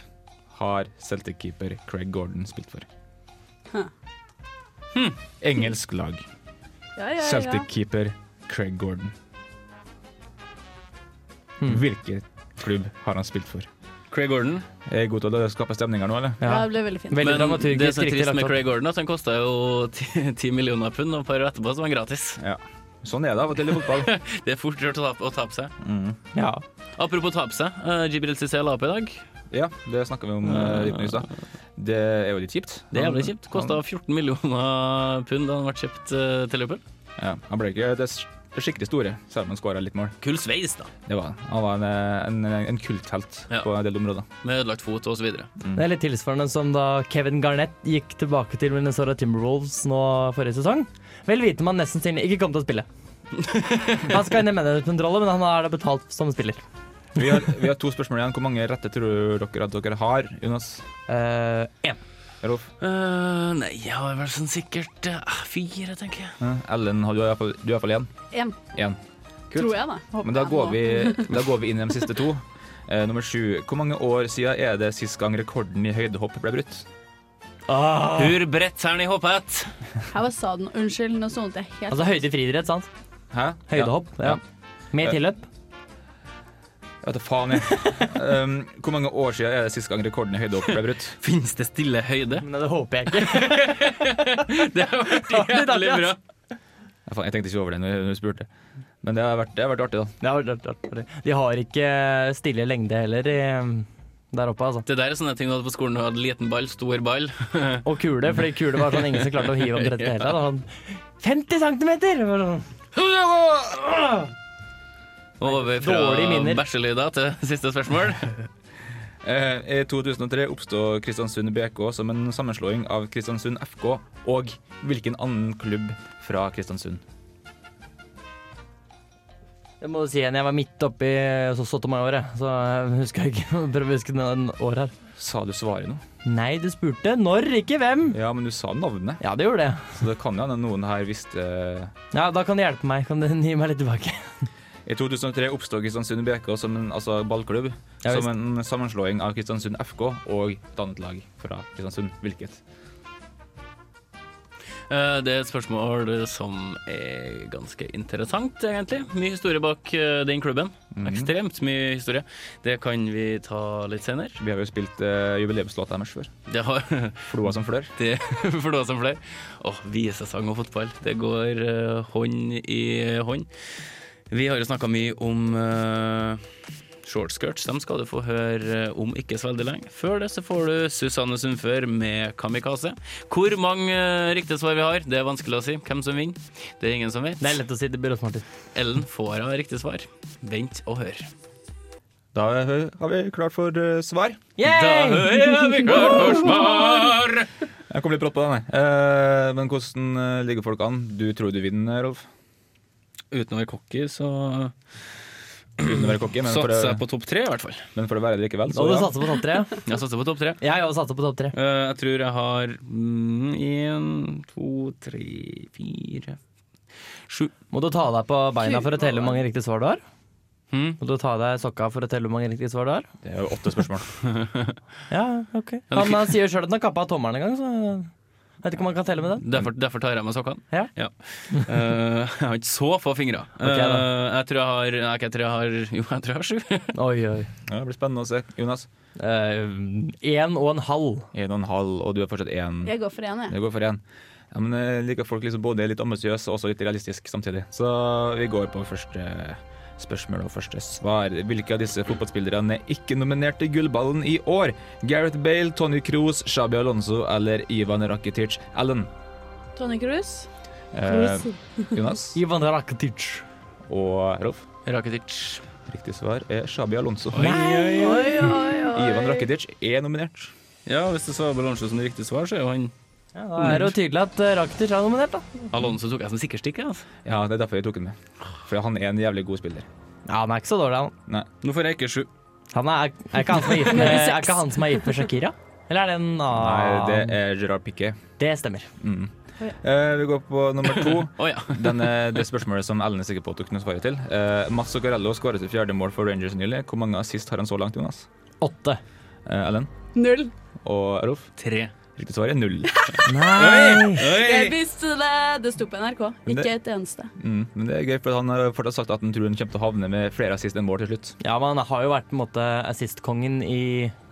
S3: har Celtic-keeper Craig Gordon spilt for. Hm.
S8: Huh.
S4: Hmm.
S3: Engelsk lag.
S8: Ja, ja, ja.
S3: Celtic-keeper Craig Gordon.
S6: Hmm.
S3: Hvilken klubb har han spilt for?
S4: Craig Gordon.
S3: Er jeg god til å skape stemning her nå, eller?
S8: Ja,
S6: Ja.
S8: det ble veldig fint.
S6: Veldig
S4: Men det
S6: dramaturgisk
S4: som er
S6: riktig
S4: trist med
S6: lagt opp.
S4: Craig Gordon, er at han kosta jo 10 millioner pund, og et par år etterpå så var han gratis.
S3: Sånn er det av og til i fotball.
S4: Det er fort gjort å tape, å tape seg.
S3: Mm.
S6: Ja.
S4: Apropos tape seg. eh, Jibril Cissé la opp i dag.
S3: Ja, det snakka vi om eh, litt nå i stad. Det er jo litt kjipt.
S4: Det er jævlig
S3: Han-
S4: kjipt. Kosta 14 millioner pund da han ble kjøpt eh, til Liverpool.
S3: Ja, han ble ikke det, det skikkelig store, selv om han skåra litt mål.
S4: Kul sveis, da,
S3: Det var han. Han var en, eh, en, en kulthelt
S4: Ja.
S3: på en del områder.
S4: med ødelagt fot og så videre.
S6: Det er litt tilsvarende som da Kevin Garnett gikk tilbake til Minnesota Timberwolves nå forrige sesong. Vel vitende om han nesten siden ikke kom til å spille. Han skal inn i managementrolle, men han er da betalt som spiller.
S3: Vi har, vi har to spørsmål igjen. Hvor mange rette tror dere at dere har, Jonas?
S6: Eh, en.
S3: Rolf?
S4: Eh, nei, jeg har vel sånn sikkert eh, fire, tenker jeg.
S3: Ja, Ellen, har du i hvert fall- du har iallfall én.
S8: En,
S3: Én. Kult.
S8: tror jeg, da. Håper
S3: Men da
S8: jeg
S3: går,
S8: nå.
S3: vi, da går vi inn i de siste to. Eh, nummer sju. Hvor mange år siden er det sist gang rekorden i høydehopp ble brutt?
S6: Ah.
S4: Hur bredt er den i hoppet?
S8: Her var sa den. Unnskyld, nå sonet jeg helt
S6: Altså høyde i friidrett, sant?
S3: Hæ?
S6: Høydehopp.
S3: Ja.
S6: Ja. Med tilløp.
S3: Ja, vet du faen, jeg. Um, hvor mange år siden er det sist gang rekorden i høydehopp ble brutt?
S4: Finnes det stille høyde?
S6: Men det håper jeg ikke.
S4: Det har vært
S6: det er
S4: jævlig
S6: artig,
S4: bra.
S3: Ja, faen, jeg tenkte ikke over det når du spurte. Men det har vært, det har vært artig, da.
S6: Det har vært artig. De har ikke stille lengde heller i, mm, der oppe, altså.
S4: Det der er sånne ting du hadde på skolen. Du hadde liten ball, stor ball.
S6: Og kule, fordi kule var sånn ingen som klarte å hive omtrent i det hele tatt. Sånn 50 centimeter! Det var Sånn.
S4: Over
S6: Dårlige
S4: fra
S6: minner.
S4: bæsjelyder til siste spørsmål.
S3: Eh, I 2003 oppstod Kristiansund BK som en sammenslåing av Kristiansund FK og hvilken annen klubb fra Kristiansund?
S6: Jeg må si igjen, jeg var midt oppi eh, så Sotomayor-året, så jeg husker ikke Prøv å huske noen år her.
S3: Sa du svaret nå?
S6: Nei, du spurte når, ikke hvem!
S3: Ja, men du sa navnet.
S6: Ja, det gjorde det.
S3: Så det kan jo hende noen her visste
S6: Ja, Da kan du hjelpe meg. Kan du gi meg litt tilbake?
S3: I 2003 oppstod Kristiansund BK som en altså ballklubb.
S6: Ja, visst.
S3: som en sammenslåing av Kristiansund FK og et annet lag fra Kristiansund. Hvilket?
S4: Eh, Det er et spørsmål som er ganske interessant, egentlig. Mye historie bak eh, den klubben.
S6: Mhm.
S4: Ekstremt mye historie. Det kan vi ta litt senere.
S3: Vi har jo spilt eh, jubileumslåta deres før.
S4: Det har
S3: Floa som flør.
S4: det for noe som flere. Åh, visesang og fotball. Det går eh, hånd i hånd. Vi har jo snakka mye om eh, shortskirts. Dem skal du få høre eh, om ikke så veldig lenge. Før det så får du Susanne Sundfør med 'Kamikaze'. Hvor mange eh, riktige svar vi har, det er vanskelig å si. Hvem som vinner, det er ingen som vet.
S6: Det er lett å si til Byrås Martin.
S4: Ellen får av riktig svar. Vent og hør.
S3: Da eh, har vi klart for eh, svar.
S4: Da hører vi klart for svar!
S3: Jeg kom litt brått på den, jeg. Eh, men hvordan eh, ligger folk an? Du tror du vinner, Rolf?
S4: Uten å være cocky, så
S3: Uten å være kokke, men, for
S4: satser jeg
S3: å-
S4: på topp tre, i hvert fall.
S3: men for å være det likevel,
S6: Da
S3: så
S6: må du
S3: ja.
S6: satse på topp tre. ja.
S4: Jeg satser på topp tre.
S6: Ja, jeg også satser på topp tre.
S4: Eh, jeg tror jeg har én, to, tre, fire Sju.
S6: Må du ta deg på beina for å telle hvor mange riktige svar du har?
S4: Hm?
S6: Må du ta av deg sokka for å telle hvor mange riktige svar du har?
S3: Det er jo åtte spørsmål.
S6: Ja, ok. Han eh, sier sjøl at han har kappa av tommelen en gang, så jeg vet ikke om han kan telle med den.
S4: Derfor, derfor tar jeg meg sokkene.
S6: Ja.
S4: Eh, jeg har ikke så få fingre.
S6: Ok, da.
S4: Eh, jeg tror jeg har Nei, ikke jeg tror jeg har Jo, jeg tror jeg har sju.
S6: Oi, oi.
S3: Ja, det blir spennende å se. Jonas,
S6: Én og Eh, en halv.
S3: én og en halv, og du er fortsatt én.
S8: Jeg går for én, jeg.
S3: Det går for én. Ja, men jeg liker folk liksom både litt ambisiøse og også litt realistisk samtidig. Så vi går på første spørsmål og første svar. Hvilke av disse fotballspillerne er ikke nominert til gullballen i år? Gareth Bale, Tony Kroos, Shabi Alonso eller Ivan Rakitic Allen?
S8: Tony Cruz.
S3: Eh, Jonas
S6: Ivan Rakitic.
S3: og Rolf.
S4: Rakitic.
S3: Riktig svar er Shabi Alonso.
S8: Oi, oi, oi.
S3: Ivan Rakitic er nominert.
S4: Ja, hvis det svarer Balanse som riktig svar, så er jo han
S6: Ja, da er det jo tydelig at eh, Rakitic er nominert, da.
S4: Alonso tok jeg som sikkerstikke. Altså.
S3: Ja, det er derfor jeg tok den med. For han er en jævlig god spiller.
S6: Ja, han er ikke så dårlig, han.
S3: Nei.
S4: Nå får jeg ikke sju.
S6: han er, er, ikke han som er, gift med, er ikke han som er gift med Shakira? Eller er det en
S3: Nei,
S6: annen?
S3: det er Gerard Piquet.
S6: det stemmer.
S3: Eh, vi går på nummer to.
S4: Å ja.
S3: Den, eh, det spørsmålet som Ellen er sikker på at du kunne svare til. Eh, Mats Zuccarello skåret sitt fjerde mål for Rangers nylig. Hvor mange assist har han så langt, Jonas?
S6: Åtte.
S3: Eh, Ellen
S8: Null.
S3: og Rolf?
S4: Tre.
S3: Riktig svar er null.
S6: Nei!
S8: Jeg visste det! Det sto på NRK. Ikke et eneste.
S3: Mm, men det er gøy, for han har fortsatt sagt at han tror han kommer til å havne med flere assist enn mål til slutt.
S6: Ja, men han har jo vært på en måte assist-kongen i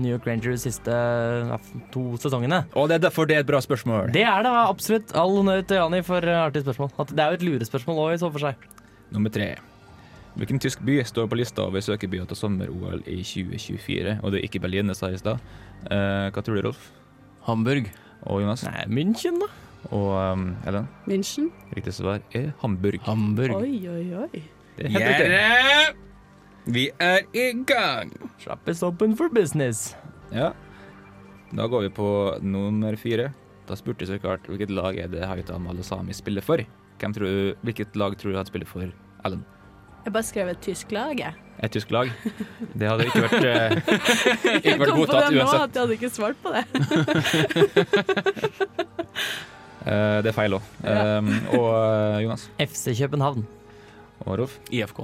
S6: New York Rangers de siste ja, to sesongene.
S3: Og det er derfor det er et bra spørsmål.
S6: Det er det absolutt. All honnør til Jani for eh, artig spørsmål. At det er jo et lurespørsmål òg, i så for seg.
S3: Nummer tre. Hvilken tysk by står på lista over søkerbyer til sommer-OL i 2024? Og det er ikke Berlin, det sa jeg i stad. Eh, hva tror du, Rolf?
S4: Hamburg.
S3: Og Jonas?
S6: Nei, München, da.
S3: Og um, Ellen?
S8: München.
S3: Riktig svar er Hamburg.
S4: Hamburg.
S8: Oi, oi, oi.
S3: Det er helt riktig.
S4: Gjerde! Vi er i gang!
S6: Shop is open for business.
S3: Ja. Da går vi på nummer fire. Da spurte jeg så klart hvilket lag er det Haita Malasami spiller for. Hvem tror du, hvilket lag tror du han spiller for, Ellen?
S8: Jeg bare skrev et tysk lag, jeg.
S3: Et tysk lag? Det hadde ikke vært, eh, ikke vært
S8: på
S3: godtatt
S8: det nå
S3: uansett.
S8: at jeg hadde ikke svart på det.
S3: Eh, det er feil òg. og eh, Jonas
S6: FC København.
S3: og Rolf,
S4: IFK.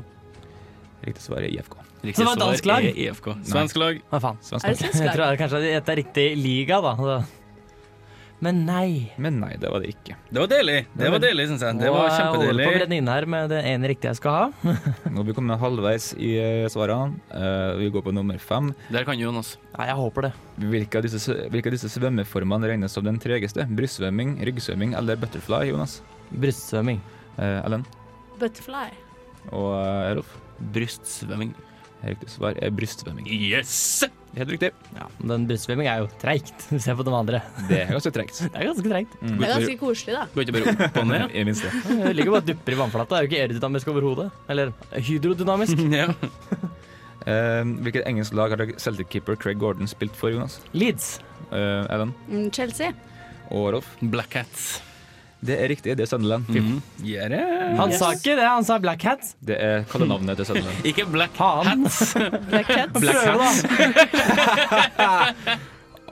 S3: riktig svar er IFK.
S4: Riktig
S6: Så det var
S4: svar
S6: dansk lag?
S4: er IFK. Svensk lag.
S6: Hva faen?
S3: Svensk
S8: Er det
S3: lag.
S8: svensk
S6: Jeg
S8: lag?
S6: tror kanskje at det er riktig liga, da. Så- Men nei.
S3: Men nei, det var det ikke.
S4: Det var deilig, det var deilig, synes jeg. Det var
S6: Og jeg holder på å
S4: kjempedeilig.
S6: brenne inn her med det ene riktige jeg skal ha.
S3: Nå har vi kommet halvveis i eh, svarene. Eh, vi går på nummer fem.
S4: Der kan Jonas.
S6: Nei, jeg håper det.
S3: Hvilke av disse, s- hvilke av disse svømmeformene regnes som den tregeste? Brystsvømming, ryggsvømming eller butterfly, Jonas?
S6: Brystsvømming.
S3: Eh, Ellen?
S8: Butterfly.
S3: Og eh, Rolf,
S4: Brystsvømming.
S3: riktig svar er brystsvømming.
S4: Yes!
S3: Helt riktig.
S6: Men brystsvømming er jo treigt. Du ser på de andre.
S3: Det er ganske tregt.
S6: Det er ganske treigt.
S8: Det er ganske koselig, da.
S4: Går ikke bare opp og ned?
S3: I minste.
S6: Det ligger bare og dupper i vannflata. Det er jo ikke aerodynamisk overhodet. Eller hydrodynamisk.
S4: ja.
S3: Eh, hvilket engelsk lag har Celtic-keeper Craig Gordon spilt for, Jonas?
S6: Leeds.
S3: Eh, Ellen
S8: Mm, Chelsea.
S3: og Rolf?
S4: Black Hats.
S3: Det er riktig, det er Sunderland.
S4: Mm. Yeah, yeah.
S6: Han
S8: Yes.
S6: sa ikke det, han sa Black Hats.
S3: Det er kallenavnet til Sunderland.
S4: Ikke Black
S6: Faen.
S4: Hats.
S8: Black Cat.
S4: Black
S6: Prøv,
S4: Hats.
S6: da.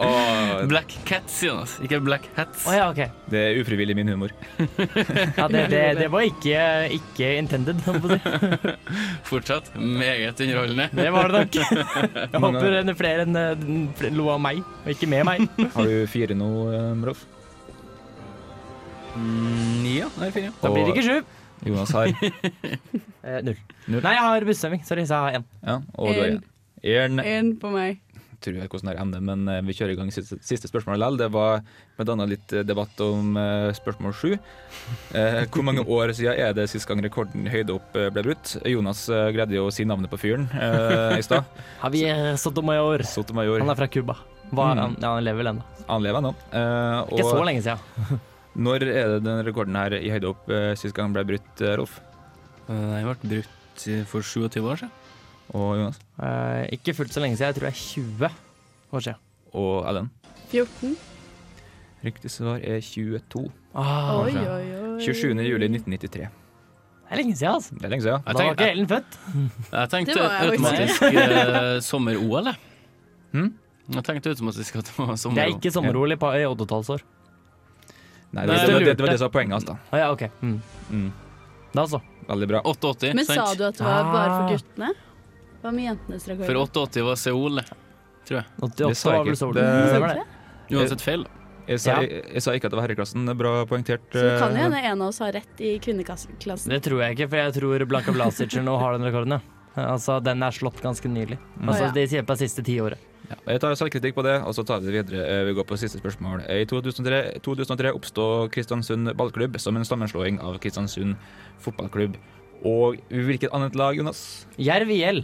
S3: Og
S4: Black Cats, Jonas. Ikke Black Hats.
S6: Å ja, ok.
S3: det er ufrivillig min humor.
S6: Ja, det, det, det var ikke, ikke intended. holdt på å si.
S4: Fortsatt meget underholdende.
S6: Det var det nok. Jeg håper det er flere enn eh, flere lo av meg, og ikke med meg.
S3: Har du fire nå, eh, Rolf?
S4: Mm, ja, det er fire.
S6: Da blir det ikke sju.
S3: Jonas har
S6: Eh, null.
S3: Null.
S6: Nei, jeg har brystsvømming. Sorry, så jeg har én.
S3: ja, og du har
S8: En.
S3: én. Én.
S8: Én på meg.
S3: tror jeg hvordan det er emnet, men eh, vi kjører i gang siste, siste spørsmål likevel. Det var blant annet litt eh, debatt om eh, spørsmål sju. Eh, Hvor mange år siden er det sist gang rekorden i høyde opp eh, ble brutt? Jonas eh, greide jo å si navnet på fyren eh, i stad.
S6: Javier Sotomayor.
S3: Sotomayor.
S6: Han er fra Cuba. Hva-
S3: Mm.
S6: han, ja, han lever vel ennå.
S3: Han lever ennå. Eh,
S6: Ikke så
S3: Og
S6: lenge siden.
S3: når er det den rekorden her i høyde opp eh, sist gang ble brutt, eh, Rolf
S4: Den ble brutt for 27 år siden.
S3: og Jonas?
S6: Eh, ikke fullt så lenge siden. Jeg tror det er 20 år siden.
S3: Og Ellen?
S8: 14.
S3: Riktig svar er 22.
S6: Ah,
S8: Oi, oi, oi.
S3: 27. juli 1993.
S6: det er lenge siden, altså.
S3: Det er lenge siden.
S4: Jeg
S6: Da var
S4: tenkte,
S6: ikke Ellen født.
S4: jeg tenkte
S8: Det var jeg
S4: automatisk eh, sommer-OL, jeg.
S3: Hm?
S4: Jeg tenkte automatisk at det var
S6: Det er
S4: sommer-OL.
S6: ikke sommer-OL i pa- i oddetallsår.
S3: Nei, det,
S4: Nei,
S3: var- det, det,
S6: lurte.
S3: det var det som var poenget hans, da.
S6: Å ja, OK. Mm.
S3: Mm.
S6: Da så.
S3: Veldig bra.
S4: 88,
S8: Men sa
S4: sant?
S8: du at det var bare for
S6: Ah.
S8: guttene? Hva med jentenes
S4: For
S8: rekord?
S4: 88 var Seoul.
S3: Det
S6: 88
S3: sa jeg
S6: var vel
S3: ikke.
S6: solen.
S3: Det-
S6: Stemmer det.
S4: Uansett feil.
S3: Jeg sa,
S6: Ja.
S3: jeg, jeg sa ikke at det var herreklassen. Det er Bra poengtert.
S8: Så det kan jo
S3: eh,
S8: hende en av oss har rett i kvinneklassen.
S6: Det tror jeg ikke, for jeg tror Blanka Blasic nå har den rekorden, ja. Altså, den er slått ganske nylig.
S8: Å,
S6: Altså,
S8: ja.
S6: det sier på det siste tiåret.
S3: Jeg tar selvkritikk på det, og så tar vi det videre. Eh, Vi går på siste spørsmål. Eh, I 2003, 2003 oppstod Kristiansund ballklubb som en sammenslåing av Kristiansund fotballklubb. Og hvilket annet lag, Jonas?
S6: Jerv IL.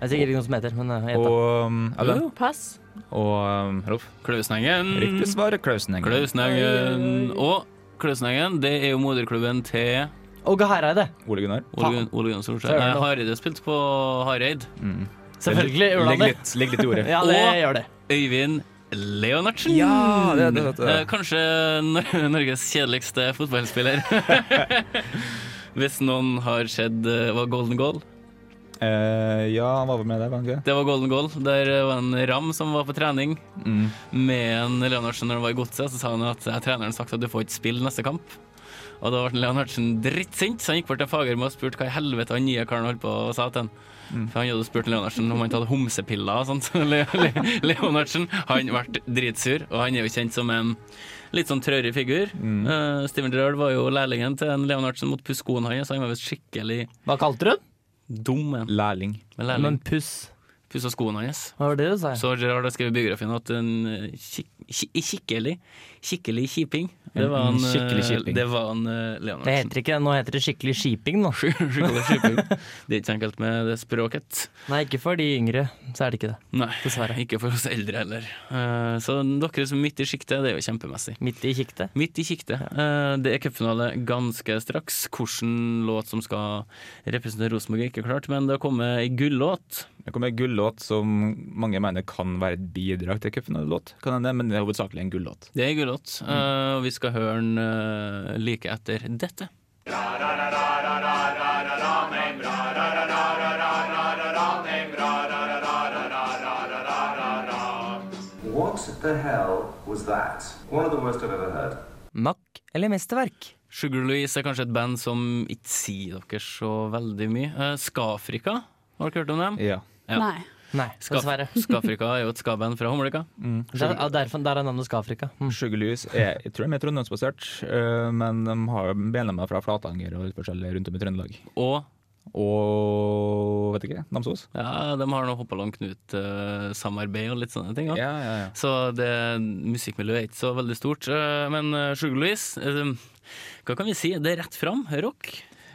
S6: Det er sikkert ikke noe som heter, men eh, jeg gjetter.
S3: Og um, Ellen?
S8: Pass.
S3: Og um, Rolf?
S4: Klausenengen.
S3: Riktig svar er Klausenengen.
S4: Klausenengen. Og Klausenengen, det er jo moderklubben til
S6: Åge Hareide.
S3: Ole Gunnar?
S4: Ole Gun- Ole Gunnar Solskjær.
S6: Søren,
S4: Nei,
S6: da.
S4: Hareide spilte på Hareid.
S3: Mm. Legg-
S6: Selvfølgelig.
S3: Legg
S6: Ørlandet.
S3: litt, legg litt i ordet.
S6: Ja, det
S4: Og-
S6: gjør det.
S4: Øyvind Leonardsen.
S3: Ja, det- det- det- det.
S4: Eh, Kanskje Nor- Norges kjedeligste fotballspiller. Hvis noen har sett eh, var Golden Goal.
S3: Eh, ja, han var vel med der, var han ikke?
S4: Det var Golden Goal. Der var en Ram som var på trening
S3: det? Mm.
S4: med en Leonardsen når han var i godset. Så sa han at eh, treneren sagt at du får ikke spille neste kamp. Og da ble Leonardsen drittsint, så han gikk bort til Fagermo og spurte hva i helvete han nye karen holdt på og sa til han. For han hadde spurt Leonardsen om han hadde homsepiller og sånt. Le Le Leonardsen han ble dritsur, og han er jo kjent som en litt sånn trørig figur. Eh, Steven Gerrard var jo lærlingen til en Leonardsen mot puskoen hans, så han var visst skikkelig
S6: Hva kalte du den?
S4: dum en
S3: Lærling.
S4: med lærling.
S6: Men puss.
S4: Pussa skoene hans.
S6: Hva var det du sa?
S4: Så Gerard har skrevet i biografien at en eh, kik ki- skikkelig Skikkelig kjiping. Det var
S3: En
S4: en, eh,
S3: skikkelig kjiping.
S4: Det var en eh,
S6: Det
S4: Leonardsen.
S6: heter ikke, nå heter det skikkelig skiping, nå.
S4: Skikkelig kjiping. Det er ikke så enkelt med det språket.
S6: Nei, ikke for de yngre, så er det ikke det.
S4: Nei, dessverre. Ikke for oss eldre heller. Eh, Så dere som er midt i sjiktet, det er jo kjempemessig.
S6: Midt i kiktet.
S4: Midt i sjiktet. Eh, Det er cupfinale ganske straks. Hvilken låt som skal representere Rosenborg, er ikke klart, men det har kommet ei gullåt.
S3: Det kommer en gullåt som mange mener kan være et bidrag til cupfinalelåt, kan hende, men det er hovedsakelig en gullåt.
S4: Det er ei gullåt,
S3: Mm.
S4: eh, og vi skal høre den eh, like etter dette.
S9: What the hell was that? One of the worst I've ever heard.
S6: Mack eller mesterverk?
S4: Sugar Louise er kanskje et band som ikke sier dere så veldig mye. Eh, Skafrika, har dere hørt om dem?
S3: Ja.
S4: Ja.
S8: Nei.
S6: Nei,
S4: Skaf-
S6: dessverre.
S4: Skafrika er jo et ska-band fra Humleka.
S6: Der, ja, derfor, der er navnet Skafrika. Mm.
S3: Sugarlys er jeg tror de er trondheimsbasert, eh, men de har medlemmer fra Flatanger og litt forskjellig rundt om i Trøndelag.
S4: Og
S3: Og vet ikke, Namsos?
S4: ja, de har noe Hoppalong Knut-samarbeid eh, og litt sånne ting. Ja.
S3: Ja, ja, ja.
S4: Så det musikkmiljøet er ikke så veldig stort. Eh, Men eh, Sugar Louise eh, Hva kan vi si? Det er rett fram. Rock.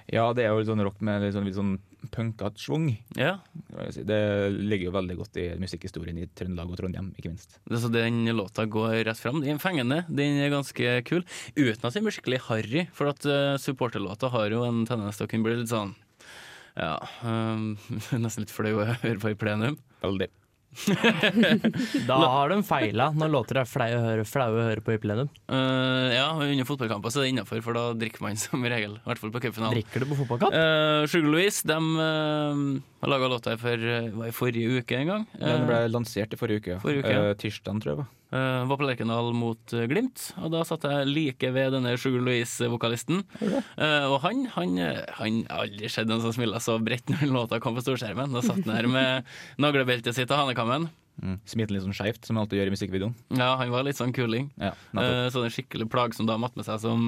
S3: Ja, det er jo litt sånn rock med litt sånn, litt sånn punkete schwung.
S4: Ja,
S3: kan jeg si. Det ligger jo veldig godt i musikkhistorien i Trøndelag og Trondheim, ikke minst.
S4: det er så den låta går rett fram. Den er fengende, den er ganske kul. Uten at den blir skikkelig harry, for at eh, supporterlåta har jo en tendens til å kunne bli litt sånn ja, eh, nesten litt flau å høre på i plenum.
S3: Veldig.
S6: Da har de feila når låter er flaue å høre, flaue å høre på i plenum.
S4: Eh, ja, og under fotballkamper så er det innafor, for da drikker man som regel. I hvert fall på cupfinalen.
S6: Drikker du på fotballkamp?
S4: Uh, Sugar Louise de, eh, har laga låta her for, eh, var i forrige uke en gang.
S3: Den ble lansert i forrige uke. ja.
S4: Forrige uke, ja.
S3: Eh, Tirsdagen, tror jeg. det var.
S4: Eh, var på Lerkendal mot eh, Glimt, og da satt jeg like ved denne Sugar Louise-vokalisten. Eh, og han han, eh, han har aldri sett en som smiler så bredt når låta kom på storskjermen. Da satt han her med naglebeltet sitt og hanekammen.
S3: Mm. Smilte litt sånn skeivt, som han alltid gjør i musikkvideoen.
S4: Ja, han var litt sånn kuling.
S3: Ja, nettopp.
S4: Uh, sånn en skikkelig plagsom dame attmed seg som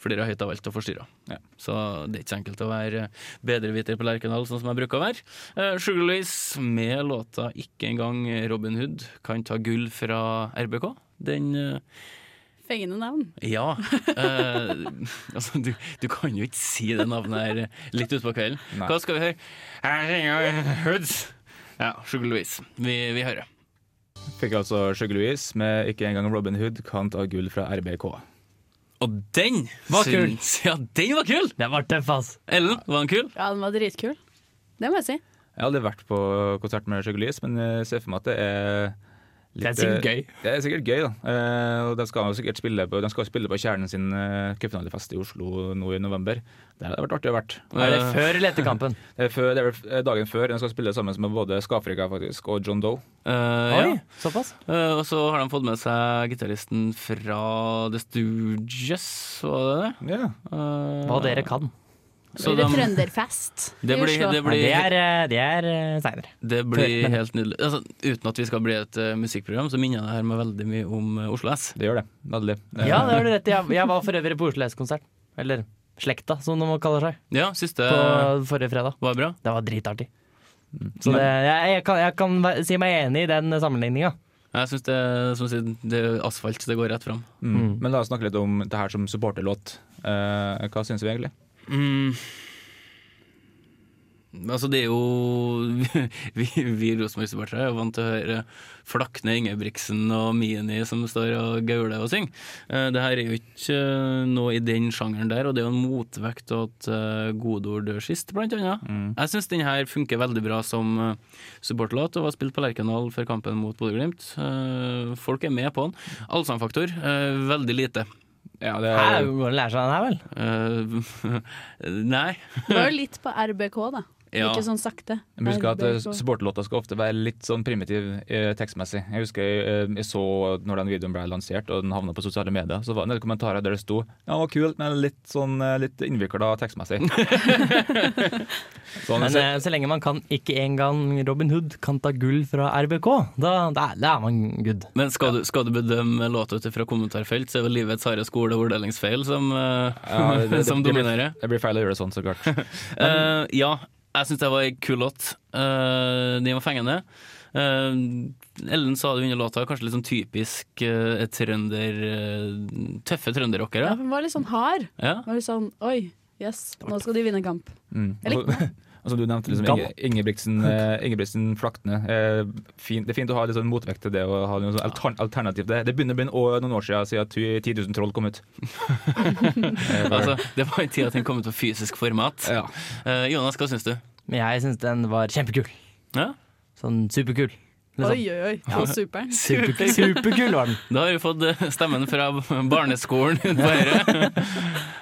S4: flere høyt har valgt å forstyrre.
S3: Ja.
S4: Så det er ikke så enkelt å være bedreviter på Lerkendal, sånn som jeg bruker å være. Eh, Sugar Louise med låta 'Ikke engang Robin Hood' kan ta gull fra RBK. Den eh,
S8: Fengende navn.
S4: ja. eh, altså, du, du kan jo ikke si det navnet her litt utpå kvelden.
S3: Nei.
S4: Hva skal vi høre? Her ringer Hoods. Ja, Sugar Louise. Vi, vi hører.
S3: Fikk altså Sugar Louise med ikke engang Robin Hood kan ta gull fra RBK.
S4: Og den
S6: Var
S4: syns- Ja, den var kul!
S6: Den var tøff, ass!
S4: Ellen, var den kul?
S8: Ja, den var dritkul. Det må jeg si.
S3: Jeg har aldri vært på konsert med Sugar Louise, men jeg ser for meg at det er
S6: Det er sikkert gøy.
S3: Det er sikkert gøy, da. Eh, og de skal jo sikkert spille på, de skal jo spille på Kjernen sin eh, cupfinalefest i Oslo nå i november. Det hadde vært artig å vært.
S6: Er det før eller etter kampen?
S3: Det er, før, det er vel f- dagen før de skal spille sammen med både Skafrika faktisk og John Doe.
S4: Eh, ja.
S6: Oi, såpass?
S4: Eh, og så har de fått med seg gitaristen fra The Stooges, var det det?
S3: Ja.
S4: Eh,
S6: Hva dere kan.
S4: så
S8: Blir det
S4: de-
S8: Trønderfest
S4: det
S8: i
S4: blir,
S8: Oslo?
S4: det
S6: Nei,
S4: blir,
S6: det er, eh, det er eh, seinere.
S4: Det blir helt nydelig. Altså, uten at vi skal bli et eh, musikkprogram, så minner det her meg veldig mye om eh, Oslo S.
S3: Det gjør det. Nydelig. Eh,
S6: Ja, det har du rett i. Jeg- Jeg var for øvrig på Oslo S-konsert. Eller slekta, som de kaller seg.
S4: Ja, siste
S3: Eh.
S6: På forrige fredag.
S4: var bra.
S6: Det var dritartig.
S3: Mm.
S6: Så det, jeg, jeg, kan, jeg kan væ- si meg enig i den sammenligninga.
S4: Jeg syns det, som sier, det er asfalt, det går rett fram.
S3: Mm. Men la oss snakke litt om det her som supporterlåt. Eh, hva syns vi egentlig?
S4: Mm. Altså, det er jo Vi, vi Rosenborg-supportere er jo vant til å høre Flakne Ingebrigtsen og Mini som står og gauler og synger. Eh, Det her er jo ikke eh, noe i den sjangeren der, og det er jo en motvekt til at eh, godord dør sist, blant annet. Jeg syns den her funker veldig bra som eh, supporterlåt, og var spilt på Lerkendal før kampen mot Bodø-Glimt. Eh, Folk er med på den. Allsangfaktor, eh, veldig lite.
S3: Ja, det
S6: Her
S3: er,
S6: går det å lære seg den her, vel?
S4: Eh, Nei.
S8: Det var jo litt på RBK, da.
S4: Ja.
S8: Ikke sånn sakte.
S3: jeg husker at eh,
S8: RBK.
S3: supporterlåta skal ofte være litt sånn primitiv eh, tekstmessig. Jeg husker eh, jeg så når den videoen ble lansert og den havna på sosiale medier, så var det en del kommentarer der det sto Ja, det var kult, men litt sånn eh, litt innvikla tekstmessig. sånn,
S6: Men
S3: så,
S6: eh, så lenge man kan ikke engang Robin Hood kan ta gull fra RBK, da, da, da er man good.
S4: Men skal, du, skal du bedømme låta ut fra kommentarfelt, så er vel livets harde skole og orddelingsfeil som, eh,
S3: ja, det, det,
S4: som
S3: det, blir-
S4: dominerer.
S3: det blir feil å gjøre det sånn, så klart.
S4: Eh, ja, jeg syns det var en kul låt. Uh, den var fengende. Eh, Ellen sa det under låta, kanskje litt sånn typisk eh, et trønder eh, Tøffe
S8: Ja,
S4: trønderrockere.
S8: den var litt sånn hard.
S4: Ja.
S8: Den var litt sånn oi, yes, nå skal de vinne kamp.
S3: Mm.
S8: Jeg likte
S3: Altså, altså du nevnte liksom Inge, Ingebrigtsen, eh, Ingebrigtsen Flakne. Eh, fin, det er fint å ha litt sånn motvekt til det. Og ha noe sånn altern alternativ til det. det begynner å bli en år- noen år siden, siden tu- 10 000 troll kom ut. Eh, bare-
S4: Altså, det var en tid at den kom ut på fysisk format.
S3: ja.
S4: Eh, Jonas, hva syns du?
S6: Men jeg syns den var kjempekul.
S4: Ja?
S6: Sånn superkul.
S8: Oi,
S6: Liksom.
S8: oi, oi. Så superen.
S6: Superkul, superkul var den.
S4: Da har vi fått eh, stemmen fra barneskolen ut på høyre.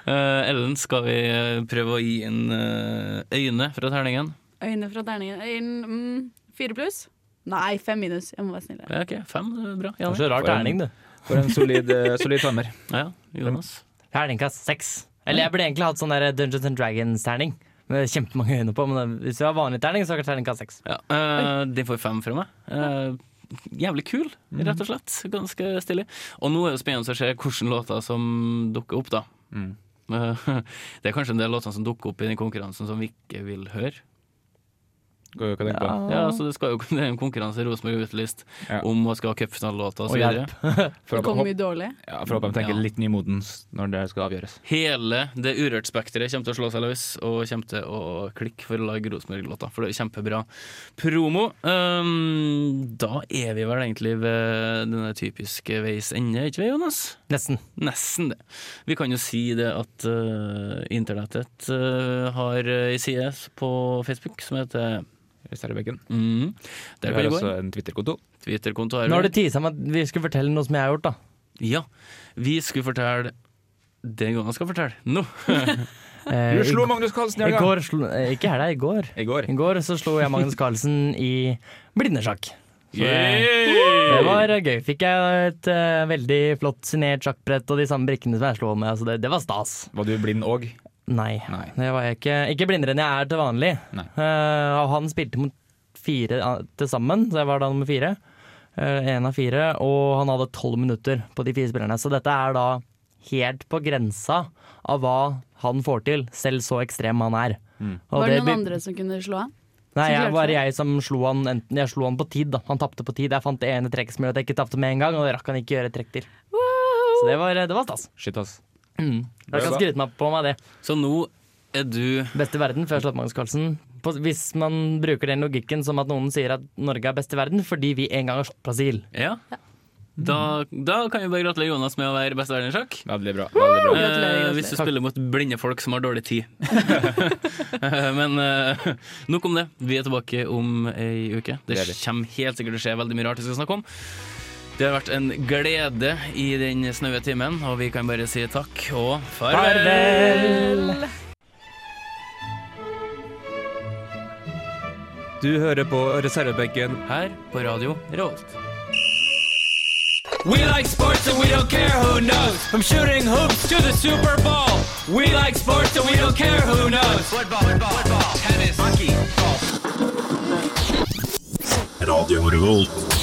S4: Eh, Ellen, skal vi eh, prøve å gi en eh, øyne fra terningen?
S8: Øyne fra terningen. Øyne mm, Fire pluss? Nei, fem minus. Jeg må være snillere.
S4: Ja, ok, fem, det er bra.
S6: Det
S4: Janne.
S6: var så rar
S3: For en-
S6: terning, du.
S3: For en solid, eh, solid timer.
S4: Ja, ja, Jonas.
S6: Terningkast seks. Eller jeg burde egentlig hatt sånn der Dungeons and Dragons-terning. Med kjempemange øyne på, men hvis det var vanlig terning, så var det terningkast seks.
S4: Ja, eh, den får fem fra meg. Eh, jævlig kul, rett og slett. Ganske stilig. Og nå er det spennende å se hvilke låter som dukker opp, da.
S3: Mm.
S4: Eh, det er kanskje en del låter som dukker opp i den konkurransen som vi ikke vil høre.
S3: Hva hva tenker du på?
S4: Ja, så det, skal jo, det er en konkurranse Rosenborg har utlyst
S3: Ja.
S4: om man skal ha cupfinalelåter
S6: Og
S4: osv.
S6: hjelp.
S3: For å
S8: Det kom
S3: håpe
S8: mye dårlig.
S3: ja, for å håpe de tenker
S4: Ja.
S3: litt nymodens når det skal avgjøres.
S4: Hele det urørte spekteret kommer til å slå seg løs og kommer til å klikke for å lage Rosenborg-låta, for det er kjempebra promo. Ehm, da er vi vel egentlig ved denne typiske veis ende, ikke vi, Jonas?
S6: Nesten.
S4: Nesten det. Vi kan jo si det at eh, internettet eh, har ei side på Facebook som heter
S3: Reservebenken.
S4: mm,
S3: Vi
S4: Der
S3: har
S4: kan du gå
S3: også
S4: inn.
S3: en Twitter-konto.
S4: Twitter-konto
S6: Nå har
S4: har
S6: det
S4: vi.
S6: tisa med at vi skulle fortelle noe som jeg har gjort, da.
S4: Ja. Vi skulle fortelle det Jonas skal fortelle nå.
S6: Eh,
S3: Du
S6: i-
S3: slo Magnus Carlsen i
S6: I
S3: helga!
S6: går slo, eh, ikke i helga, i går.
S3: I går.
S6: I går så slo jeg Magnus Carlsen i blindesjakk. Så det,
S4: Yay!
S6: det var eh, gøy. Fikk jeg et eh, veldig flott signert sjakkbrett og de samme brikkene som jeg slo med, så det, det var stas.
S3: Var du blind òg?
S6: Nei,
S3: Nei.
S6: det var jeg ikke. Ikke blindere enn jeg er til vanlig.
S3: Nei.
S6: Eh, og han spilte mot fire eh, til sammen, så jeg var da nummer fire. Én av fire, og han hadde tolv minutter på de fire spillerne. Så dette er da helt på grensa av hva han får til, selv så ekstrem han er.
S3: Mm.
S6: Og
S8: Var det
S6: be-
S8: noen andre som kunne slå
S4: Eh,
S8: av?
S6: Nei,
S8: som
S6: jeg,
S8: klarte
S6: var
S8: det?
S6: jeg som slo han enten, Jeg slo han på tid, da. Han tapte på tid. Jeg fant det ene trekket som gjorde at jeg ikke tapte med en gang, og det rakk han ikke gjøre et trekk til. Så det var, det var stas. Mm.
S3: Shit, ass.
S6: Jeg kan
S3: bra.
S6: skryte meg på meg det.
S4: Så nå er du
S6: Best i verden før slått Magnus Carlsen. På, hvis man bruker den logikken som at noen sier at Norge er best i verden fordi vi en gang har slått Brasil.
S4: Ja. Da, da kan vi bare gratulere Jonas med å være best i verden i sjakk.
S3: Veldig bra. Veldig bra.
S8: Gratulerer,
S4: Eh,
S8: gratulerer.
S4: hvis du spiller mot blinde folk som har dårlig tid. Eh, Men eh, nok om det. Vi er tilbake om ei uke. Det,
S3: Det er vi.
S4: kommer helt sikkert til å skje veldig mye rart vi skal snakke om. Det har vært en glede i den snaue timen, og vi kan bare si takk og farvel!
S3: Du hører på reservebenken.
S4: Her på Radio Revolt.
S2: We like sports and we don't care who knows. From shooting hoops to the Super Bowl. We like sports and we don't care who knows. Football, football, football, tennis, hockey, golf.
S10: Radio Revolt.